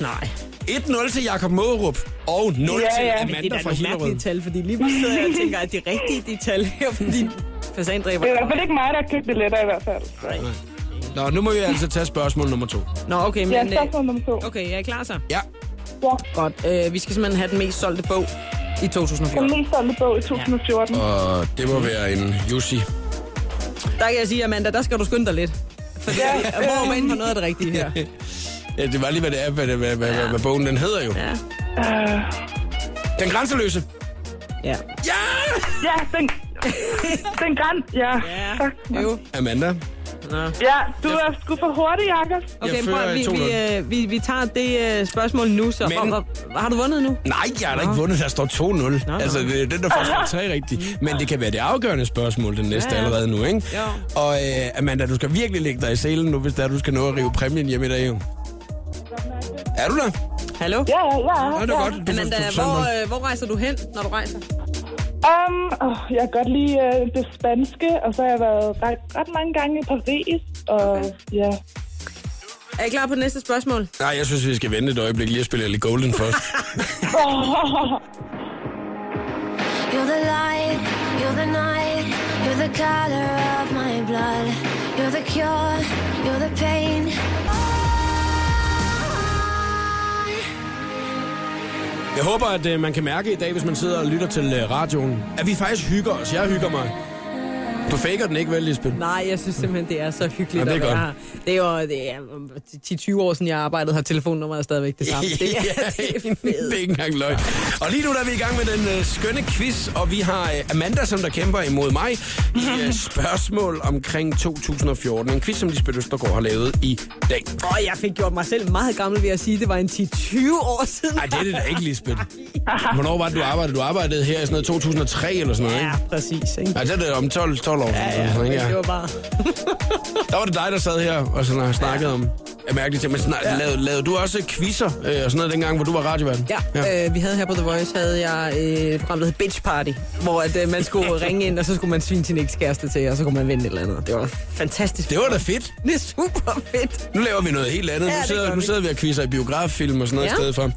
nej.
1-0 til Jakob Mårup, og 0 til
Ja, ja.
Men det
Amanda
er da
fra
nogle
Hillerød.
mærkelige tal, fordi lige nu sidder jeg og tænker, at de rigtige de tal her, fordi
Det er i
fasandræberne...
hvert fald ikke mig, der har købt billetter i hvert fald.
Nå, nu må vi altså tage spørgsmål nummer to.
Nå, okay,
Ja,
men... Øh,
spørgsmål nummer to.
okay, jeg er klar så.
Ja,
Ja,
Godt. Øh, vi skal simpelthen have den mest solgte bog i
den
2014.
mest solgte bog i 2014.
og det må være en Jussi.
Der kan jeg sige, Amanda, der skal du skynde dig lidt. For ja, hvor er man inde på noget af det rigtige her?
Ja, det var lige, hvad det er, hvad, det, hvad, hvad, hvad, hvad bogen den hedder jo.
Ja.
Øh,
Den grænseløse.
Ja.
Ja!
Ja, den... Den græn... Ja, fuck.
Jo.
Amanda.
Nå.
Ja, du er sgu for hurtig, Jakob.
Okay,
Jeg
prøv,
fører
at- vi, vi,
2-0.
øh, vi, vi tager det øh, spørgsmål nu, så.
Men-
Men... Og, og, har du vundet nu?
Nej, jeg har da ikke vundet. Der står 2-0. altså, det er den, der *laughs* får svaret tre rigtigt. Men det kan være det afgørende spørgsmål, den næste
Ja,
ja,
ja.
ja. allerede nu, ikke?
Jo.
Og øh, Amanda, du skal virkelig lægge dig i selen nu, hvis der du skal nå at rive præmien hjem i dag, jo. Er du der?
Hallo?
Ja, ja, ja.
Nå, det er godt. Du,
Amanda,
du,
hvor, øh, hvor rejser du hen, når du rejser?
Um, oh, jeg kan godt lide øh, det spanske, og så har jeg været ret, ret mange gange i Paris. Og ja,
Er I klar på det næste spørgsmål?
Nej, jeg synes, vi skal vente et øjeblik lige at spille lidt Golden *laughs* først.
You're the light, you're the night, you're the color of my blood. You're the cure, you're the pain.
Jeg håber, at øh, man kan mærke i dag, hvis man sidder og lytter til øh, radioen, at vi faktisk hygger os. Jeg hygger mig. Du faker den ikke, vel, Lisbeth?
Nej, jeg synes simpelthen, det er så hyggeligt
Ja, det er
at være her.
godt.
Det er jo det er 10-20 år siden, jeg arbejdede her. Telefonnummeret er stadigvæk det *laughs* samme. Det
*laughs*
er, det er
det er
fedt.
ikke engang løgn. Og lige nu der er vi i gang med den øh, skønne quiz, og vi har øh, Amanda, som der kæmper imod mig, i
*laughs*
øh, spørgsmål omkring 2014. En quiz, som Lisbeth Østergaard har lavet i dag.
Og jeg fik gjort mig selv meget gammel ved at sige, at det var en 10-20 år siden.
Nej, det er det da ikke, Lisbeth. Hvornår var det, du arbejdede? Du arbejdede her i sådan noget 2003 eller sådan noget, ikke?
Ja, præcis. Ikke?
Nej, det er det om 12, 12 år.
Ja,
eller
ja,
sådan,
men
ikke?
det var bare...
Der var det dig, der sad her og sådan, har snakket om er mærkeligt ting. Men sådan, ja. lavede, lavede, du også quizzer øh, og sådan noget dengang, hvor du var radiovært?
Ja, ja. Øh, vi havde her på The Voice, havde jeg øh, et program, der hed Bitch Party, hvor at, øh, man *laughs* skulle ringe ind, og så skulle man svine sin ekskæreste til, og så kunne man vinde et eller andet. Det var fantastisk.
Det var da fedt.
det er super fedt.
Nu laver vi noget helt andet.
Ja,
nu,
det
sidder,
gør
nu
vi.
sidder vi og quizzer i biograffilm og sådan noget
Ja.
i stedet for.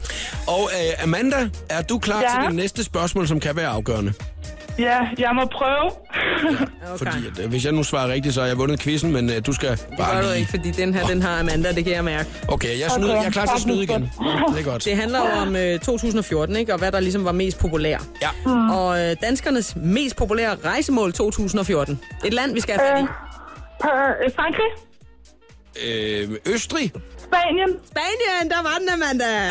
Og øh, Amanda, er du klar
Ja.
til det næste spørgsmål, som kan være afgørende?
*laughs* Ja, jeg må prøve.
Okay.
Fordi at, øh, hvis jeg nu svarer rigtigt, så har jeg vundet quizzen, men øh, du skal
Det gør
bare
du
lige...
ikke, fordi den her, den har Amanda, det kan jeg mærke.
Okay, jeg, snyder, jeg er klar til at
Tak,
*laughs*
snyde igen.
Lisbeth.
Det er godt.
Det handler jo om øh, 2014, ikke? Og hvad der ligesom var mest populær.
Ja.
Og øh, danskernes mest populære rejsemål 2014. Et land, vi skal have fat i.
Øh. Per- øh, Frankrig?
Øh, Østrig? *laughs*
Spanien?
Spanien, der var den, Amanda!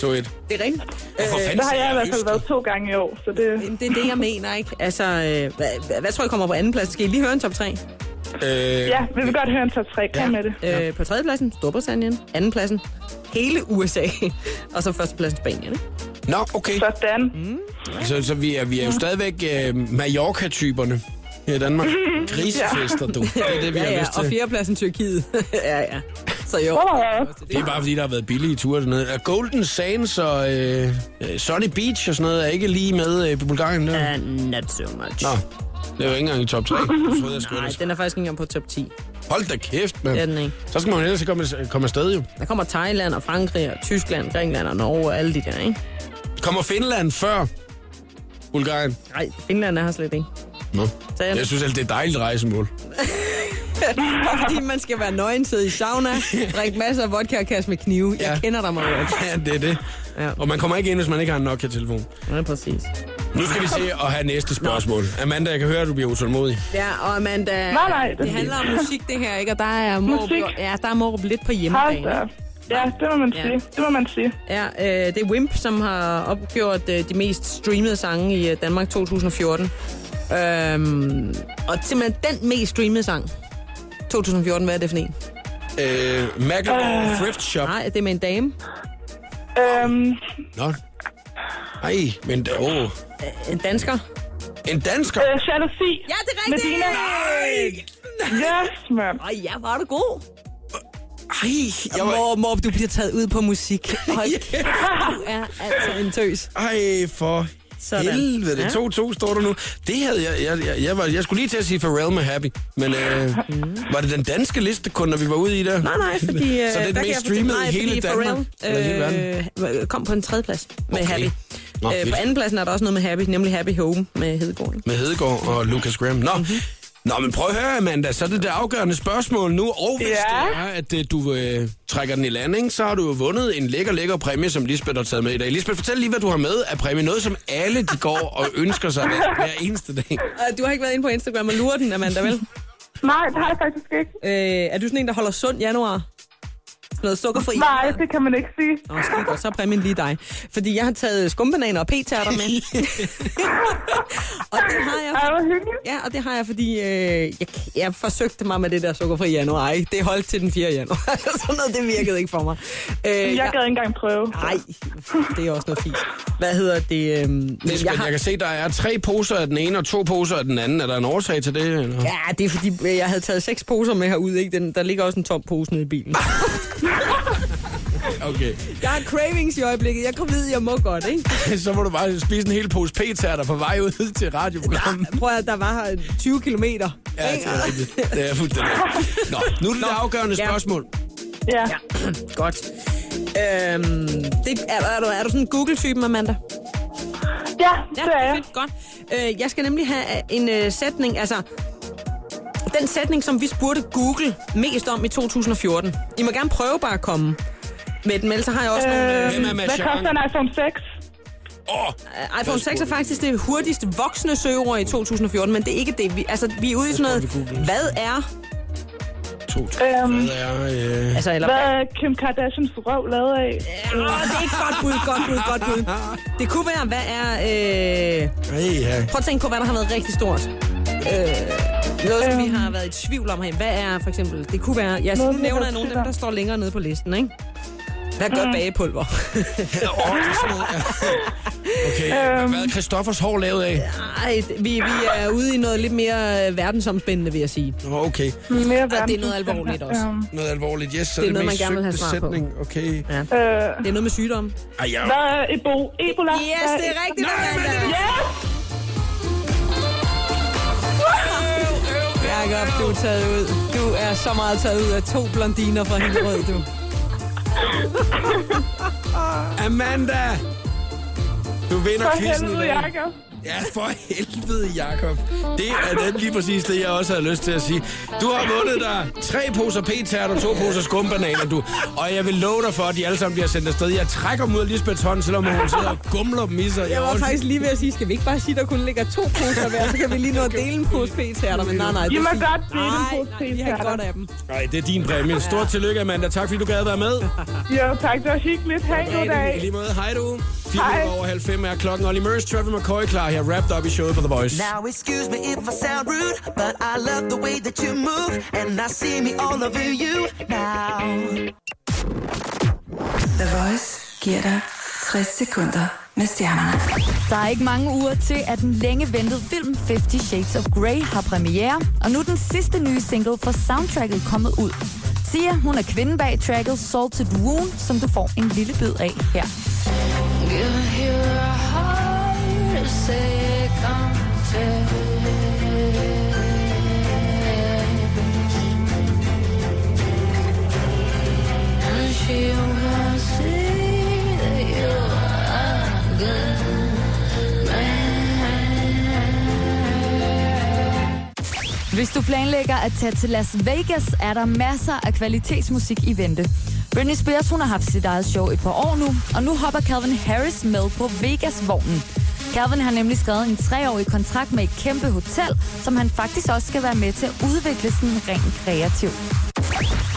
to et.
Det er rigtigt.
Hvorfor fanden
Der har
sagde
jeg i hvert fald
Østrig?
været to gange i år, så det...
Jamen, Det er det, jeg mener, ikke? Altså, øh, hvad, hvad- hvad tror I kommer på anden plads? Skal I lige høre en top 3?
Øh,
Ja, vi vil godt høre en top 3. Kom med det.
Ja. Øh, på tredjepladsen, Storbritannien. Andenpladsen, hele USA. *laughs* og så førstepladsen, Spanien, ikke?
Nå, okay.
Sådan.
Mm.
Så, så vi, er, vi er jo stadigvæk øh, Mallorca-typerne her i
*laughs*
Danmark. Grisefester, du. Det er det, vi har
ja,
lyst
og
til.
fjerdepladsen, Tyrkiet. *laughs* ja, ja. Så jo.
Åh,
Mm.
Det er bare fordi, der har været billige ture dernede. Og Golden Sands og øh, øh, Sunny Beach og sådan noget er ikke lige med øh, på Bulgarien der.
Uh, not so much.
Nå, det er jo ikke engang i top
*laughs*
3.
Nej, den er faktisk ikke engang på top 10.
Hold da kæft,
Det er den
mand.
ikke.
Så skal man jo ellers komme, komme afsted jo.
Der kommer Thailand og Frankrig og Tyskland, Grækenland og Norge og alle de der, ikke?
Kommer Finland før Bulgarien?
Nej, Finland er her slet ikke. *laughs*
Nå.
Så jeg,
Jeg synes alt det er et dejligt rejsemål. *laughs*
fordi man skal være nøgen, sidde i sauna, drikke masser af vodka og kaste med knive. Jeg
Ja.
kender dig meget godt.
Ja, det er det.
Ja.
Og man kommer ikke ind, hvis man ikke har en Nokia-telefon.
Ja, præcis.
Nu skal vi
*laughs*
se og have næste spørgsmål. Amanda, jeg kan høre, at du bliver utålmodig.
Ja, og Amanda,
Nej, nej, det-
det handler om musik det her, ikke? Og der er Morup,
Musik.
jo- ja, der er Morup lidt på
Hold
hjemmebane.
da. op. Ja, det må man
Ja.
sige. Det må man sige.
Ja, øh, det er Wimp, som har opgjort øh, de mest streamede sange i øh, Danmark 2014. Øhm, og simpelthen den mest streamede sang 2014, hvad er det for en?
Øh, Macklemore Thrift Shop.
Nej, det er med en dame.
Øhm,
Nå. Ej, men da, åh.
En dansker.
En dansker?
øh, jalousi.
Ja, det er rigtigt!
Medina. Yes, mand.
Ej, ja, var du god.
Ej, jeg var...
Mor, mor, du bliver taget ud på musik. *laughs* Hold kæft, du er altså en tøs.
Ej, for
Sådan.
helvede. Det
Ja.
er 2-2, står der nu. Det havde jeg... Jeg, jeg, jeg, var, jeg skulle lige til at sige farewell med Happy, men øh, var det den danske liste kun, når vi var ude i der?
Mm. Nej, nej, fordi... øh,
Så
der
den
kan
mest
jeg
streamede
fortælle-
i hele
fordi
Danmark? Eller hele verden?
Pharrell, øh, kom på en tredjeplads med
Okay.
Happy.
Nå,
øh,
fedt.
på andenpladsen er der også noget med Happy, nemlig Happy Home med Hedegaard.
Med Hedegaard og Lucas Graham. Nå,
Mhm.
mm-hmm. Nå, men prøv at høre, Amanda. Så er det det afgørende spørgsmål nu. Og hvis
Ja.
det er, at øh, du øh, trækker den i landing, så har du jo vundet en lækker, lækker præmie, som Lisbeth har taget med i dag. Lisbeth, fortæl lige, hvad du har med af præmie. Noget, som alle de går og ønsker sig hver, hver eneste dag.
Øh, Du har ikke været inde på Instagram og lurer den, Amanda, vel?
Nej, det har jeg faktisk ikke.
øh, er du sådan en, der holder sund januar? Sådan noget sukkerfri?
Nej, det kan man ikke sige.
Nå, skide godt, så er præmien lige dig. Fordi jeg har taget skumbananer og p-tærter
*laughs*
med. og det har jeg,
Ej, hvor hyggeligt.
Ja, og det har jeg, fordi øh, jeg, jeg forsøgte mig med det der sukkerfri i januar. Ikke? Det holdt til den 4. januar. *laughs* Sådan noget, det virkede ikke for mig. Øh,
Jeg gad ikke engang prøve.
Nej, det er også noget fint. Hvad hedder det? Øhm,
Lisbeth, jeg, har... jeg kan se, der er tre poser af den ene og to poser af den anden. Er der en årsag til det? Eller? Ja.
Ja, det er fordi, øh, jeg havde taget seks poser med herude. Ikke? Den, der ligger også en tom pose nede i bilen.
Okay, *laughs*
Jeg har cravings i øjeblikket. Jeg kom ved, jeg må godt, ikke?
så må du bare spise en hel pose p-tærter på vej ud *laughs* til radioprogrammet.
Prøv at der var her 20 kilometer.
Ja, det er rigtigt. Det er fuldstændig. Nå, nu er det, det afgørende
Ja.
spørgsmål.
Ja.
Godt. Øhm, det, er, er, du, er du sådan en Google-typen, Amanda?
Ja, det er jeg.
fedt, godt. Øh, jeg skal nemlig have øh, en øh, sætning, altså... Den sætning, som vi spurgte Google mest om i 2014. I må gerne prøve bare at komme med den, men ellers så har jeg også øh, nogle...
Øhm,
Hvem er Mads
hvad
Jørgen?
koster en iPhone 6?
Åh,
Øh, iPhone 6 er faktisk det hurtigst voksende søgeord i 2014, men det er ikke det. Vi, altså, vi er ude i sådan
tror, vi
noget,
googlede.
hvad er...
to, to,
Øhm.
hvad er, øh,
Altså, eller,
Hvad er Kim Kardashians røv lavet af?
Åh, det er ikke godt bud, godt bud, godt bud. Det kunne være, hvad er... Øh...
hey, ja.
Prøv at tænke på, hvad der har været rigtig stort. Øh... Noget, som vi har været i tvivl om herinde. Hvad er for eksempel... Det kunne være... Jeg
Noget, vi
nævner
har
jeg nogle af
tvivl
dem,
om.
der står længere nede på listen, ikke? Hvad gør bagepulver?
Åh, det er sådan noget, ja. *laughs* Øhm. Okay, hvad er Christoffers hår lavet af?
Ej, det- vi, vi er ude i noget lidt mere øh, verdensomspændende, vil jeg sige.
Nå, okay.
Mere
det er
verdens-
noget alvorligt også.
Øhm,
Noget alvorligt, yes, så
Det
det
er
er
noget,
det mest
man gerne vil have
søgte
svar på.
sætning. Okay.
øh,
Det er noget med sygdomme.
Ej, jeg...
Hvad er Ebo? Ebola?
Yes, det er rigtigt, Amanda.
Ja!
Jakob, du er taget ud. Du er så meget taget ud af to blondiner fra Hillerød, du.
Amanda! Du vinder
For
quizzen i
helvede,
dag.
Jacob.
Ja, for helvede, Jakob. Det er den lige præcis det, jeg også havde lyst til at sige. Du har vundet dig tre poser p-tært og to poser skumbananer, du. Og jeg vil love dig for, at de alle sammen bliver sendt afsted. Jeg trækker mod Lisbeth hånd, selvom hun sidder og gumler dem i sig.
Jeg var faktisk lige ved at sige, skal vi ikke bare sige, der kun ligger to poser hver, så kan vi lige nå at dele en pose p-tærter, men nej, nej. det
I må
er fint.
godt dele en
Nej,
pose
Nej, vi har
p-tærter.
godt af dem.
Nej, det er din præmie. Stort tillykke, Amanda. Tak, fordi du gad at være med.
Jo, tak. Det var hyggeligt. Ha' en god
I
dag.
lige måde. Hej du. 4
Hej.
over halv fem er klokken. Olly Murs, Trevor McCoy klar her. Wrapped up i showet på The Voice.
Now, excuse me if I sound rude, but I love the way that you move, and I see me all over you now.
The Voice giver dig 60 sekunder med stjernerne.
Der er ikke mange uger til, at den længe ventede film 50 Shades of Grey har premiere, og nu er den sidste nye single fra soundtracket kommet ud. Sia, hun er kvinden bag tracket Salted Wound, som du får en lille bid af her. Hvis du planlægger at tage til Las Vegas, er der masser af kvalitetsmusik i vente. Britney Spears hun har haft sit eget show et par år nu, og nu hopper Calvin Harris med på Vegas-vognen. Calvin har nemlig skrevet en treårig kontrakt med et kæmpe hotel, som han faktisk også skal være med til at udvikle sådan rent kreativt.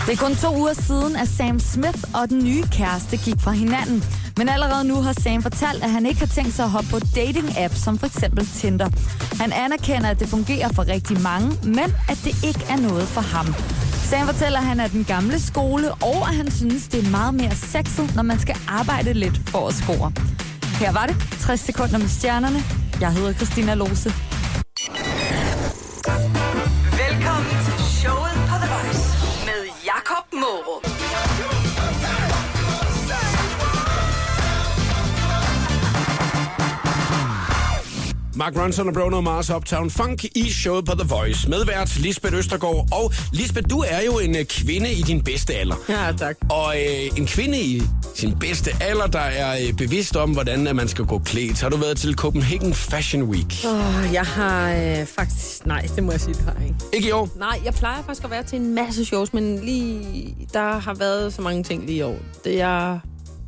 Det er kun to uger siden, at Sam Smith og den nye kæreste gik fra hinanden. Men allerede nu har Sam fortalt, at han ikke har tænkt sig at hoppe på dating-app, som for eksempel Tinder. Han anerkender, at det fungerer for rigtig mange, men at det ikke er noget for ham. Sam fortæller, at han er den gamle skole, og at han synes, det er meget mere sexet, når man skal arbejde lidt for at score. Her var det 60 sekunder med stjernerne. Jeg hedder Christina Lose.
Velkommen til showet på The Voice med Jakob Morup.
Mark Ronson og Bruno Mars Uptown Funk i showet på The Voice. Medvært Lisbeth Østergaard. Og Lisbeth, du er jo en øh, kvinde i din bedste alder.
Ja, tak.
Og øh, en kvinde i sin bedste alder, der er øh, bevidst om, hvordan at man skal gå klædt. Har du været til Copenhagen Fashion Week?
Åh, jeg har øh, faktisk... Nej, det må jeg sige, det har jeg ikke.
Ikke i år?
Nej, jeg plejer faktisk at være til en masse shows, men lige... Der har været så mange ting lige i år. Det er...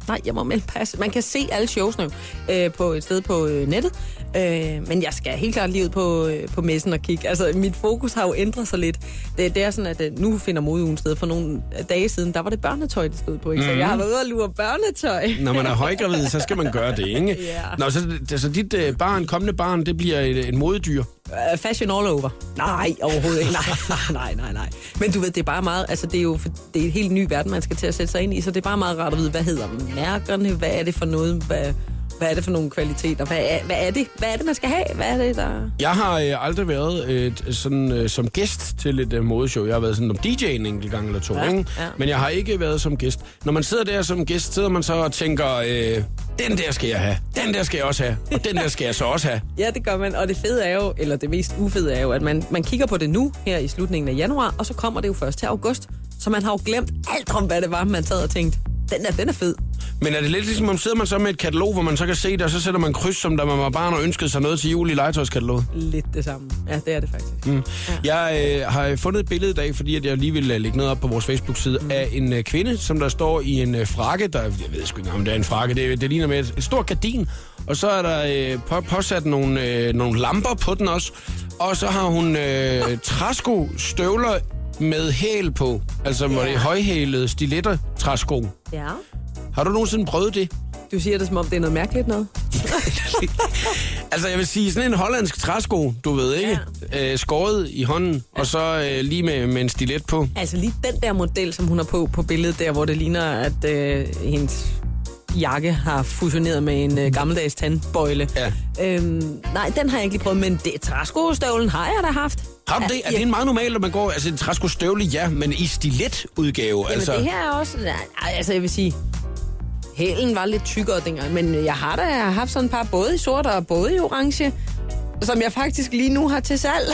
Nej, jeg må melde pas. Man kan se alle showsene jo, øh, på et sted på øh, nettet. Øh, men jeg skal helt klart lige ud på, øh, på messen og kigge. Altså, mit fokus har jo ændret sig lidt. Det, det er sådan, at øh, nu finder modeugen sted. For nogle dage siden, der var det børnetøj, det stod på. Ikke? Så jeg har været ude og lure børnetøj.
Når man er højgravid, så skal man gøre det, ikke?
Ja.
Nå, så, så dit øh, barn, kommende barn, det bliver et, et modedyr.
Øh, fashion all over. Nej, overhovedet ikke. Nej, nej, nej, nej, nej. Men du ved, det er bare meget, altså det er jo for, det er en helt ny verden, man skal til at sætte sig ind i, så det er bare meget rart at vide, hvad hedder mærkerne, hvad er det for noget, hvad, hvad er det for nogle kvaliteter, hvad er, hvad er det, hvad er det, man skal have, hvad er det, der...
Jeg har øh, aldrig været øh, t- sådan, øh, som gæst til et øh, modeshow. Jeg har været sådan om DJ en enkelt gang eller to,
Ja,
ikke?
ja.
Men jeg har ikke været som gæst. Når man sidder der som gæst, sidder man så og tænker, øh, den der skal jeg have, den der skal jeg også have, og den der skal jeg så også have.
Ja, det gør man, og det fede er jo, eller det mest ufede er jo, at man, man kigger på det nu, her i slutningen af januar, og så kommer det jo først til august, så man har jo glemt alt om, hvad det var, man sad og tænkte, den er, den er fed.
Men er det lidt ligesom, om sidder man så med et katalog, hvor man så kan se det, og så sætter man kryds, som da man var barn og ønskede sig noget til jul i legetøjskataloget?
Lidt det samme. Ja, det er det faktisk. Mm.
Jeg øh, har fundet et billede i dag, fordi at jeg lige vil øh, lægge noget op på vores Facebook-side, mm. af en øh, kvinde, som der står i en øh, frakke, der, jeg ved sgu ikke, om det er en frakke, det, det ligner med et, et stort gardin, Og så er der øh, på, påsat nogle, øh, nogle lamper på den også. Og så har hun øh, træsko, støvler med hæl på. Altså, hvor det er højhælede stiletter træsko.
Ja.
Har du nogensinde prøvet det?
Du siger det, som om det er noget mærkeligt noget.
Altså, jeg vil sige, sådan en hollandsk træsko, du ved ikke, ja. øh, skåret i hånden, og så øh, lige med, med en stilet på.
Altså lige den der model, som hun har på på billedet der, hvor det ligner, at øh, hendes jakke har fusioneret med en øh, gammeldags tandbøjle.
Ja.
Øhm, nej, den har jeg ikke lige prøvet, men det, træskostøvlen har jeg da haft.
Har du det? Er
ja.
det en meget normalt, at man går... Altså, en træsko støvle, ja, men i stiletudgave,
Jamen,
altså...
altså... det
*laughs*
her er også... nej, nej, Altså, jeg vil sige... Hælen var lidt tykkere dengang, men jeg har da haft sådan et par både i sort og både i orange, som jeg faktisk lige nu har til *laughs* salg.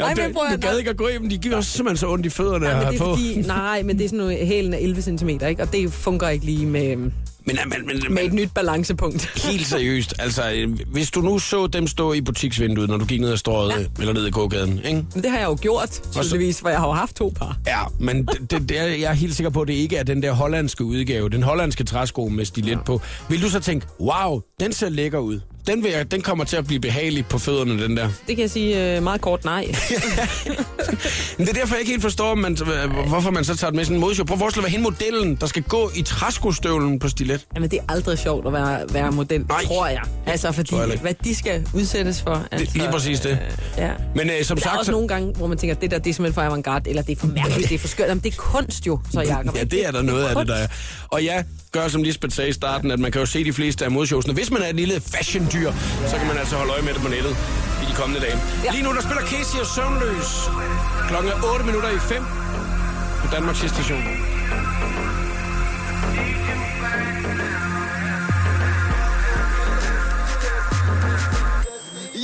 Jamen,
men
det-
prøv at-
du gad ikke at gå i dem, de giver os simpelthen så ondt i fødderne
men
her
det er
på.
fordi, nej, men det er sådan noget, hælen er 11 cm, ikke? og det fungerer ikke lige med,
Men, men, men,
med et nyt balancepunkt.
Helt seriøst, altså, øh, hvis du nu så dem stå i butiksvinduet, når du gik ned ad strøget, ja. eller ned i gågaden, ikke?
Men det har jeg jo gjort, tydeligvis, for jeg har jo haft to par.
Ja, men det, det, det er, jeg er helt sikker på, at det ikke er den der hollandske udgave, den hollandske træsko med stilet ja. på. Vil du så tænke, wow, den ser lækker ud. Den, vil jeg, den kommer til at blive behagelig på fødderne, den der.
Det kan jeg sige øh, meget
*laughs*
kort nej.
Men det er derfor, jeg ikke helt forstår, man, øh, hvorfor man så tager det med sådan en modshow. Prøv at forestille dig, hvad hende modellen, der skal gå i træskostøvlen på stilet.
Jamen, det er aldrig sjovt at være, være model,
Nej.
tror jeg. Altså, fordi
Tror jeg heller ikke.
hvad de skal udsættes for. Altså,
Det, lige præcis det.
Ja.
Men øh, som
Der er
sagt...
også
så-
nogle gange, hvor man tænker, det der, det er simpelthen for avantgarde, eller det er for mærkeligt, det er for skørt. Jamen, det er kunst jo, så Jacob.
Ja, det er der noget af det, der er. Og ja, gør som Lisbeth sagde i starten, at man kan jo se de fleste af modshowsene. Hvis man er et lille fashion-dyr, så kan man altså holde øje med det på nettet i de kommende dage. Ja. Lige nu, der spiller Casey og Søvnløs. Klokken er 8 minutter i 5 på Danmarks station.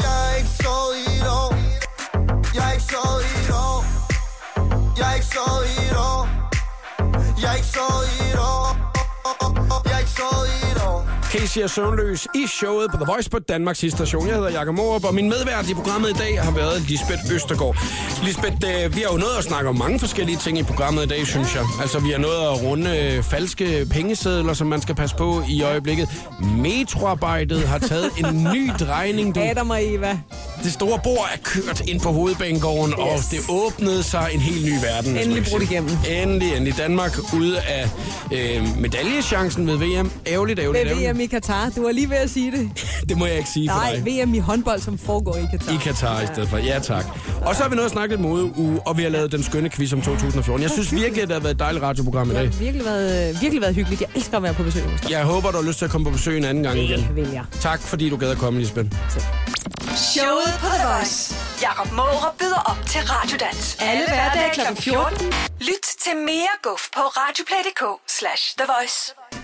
Jeg har ikke sovet i et år. Jeg har ikke sovet i et år. Jeg har ikke sovet i et år. Jeg har ikke sovet i et år. Jeg har ikke sovet i et år.
Casey er søvnløs i showet på The Voice på Danmarks station. Jeg hedder Jakob Morup, og min medvært i programmet i dag har været Lisbeth Østergaard. Lisbeth, øh, vi har jo nået at snakke om mange forskellige ting i programmet i dag, synes jeg. Altså, vi har nået at runde øh, falske pengesedler, som man skal passe på i øjeblikket. Metroarbejdet har taget en ny drejning. Du.
Adam og Eva.
Det store bord er kørt ind på hovedbanegården, yes. og det åbnede sig en helt ny verden. hvis
Endelig
man kan
brudt
sige.
igennem.
Endelig, endelig. Danmark ude af øh, medaljechancen ved VM. Ærgerligt, ærgerligt,
Med
ærgerligt.
VM i Katar. Du var lige ved at sige det.
Det må jeg ikke sige for
Nej,
dig.
VM i håndbold, som foregår i Katar.
I Katar i stedet for. Ja, tak. Og så har vi nået at snakke lidt mode uge, og vi har lavet den skønne quiz om 2014. Jeg synes virkelig, at det har været et dejligt radioprogram i
Det
dag.
har virkelig været, virkelig været hyggeligt. Jeg elsker at være på besøg hos dig.
Jeg håber, du har lyst til at komme på besøg en anden gang igen.
vil jeg.
Tak, fordi du gad at komme, Lisbeth.
Showet på The Voice. Jakob Måre byder op til Radiodans. Alle hverdage kl. 14. Lyt til mere guf på radioplay.dk slash The Voice.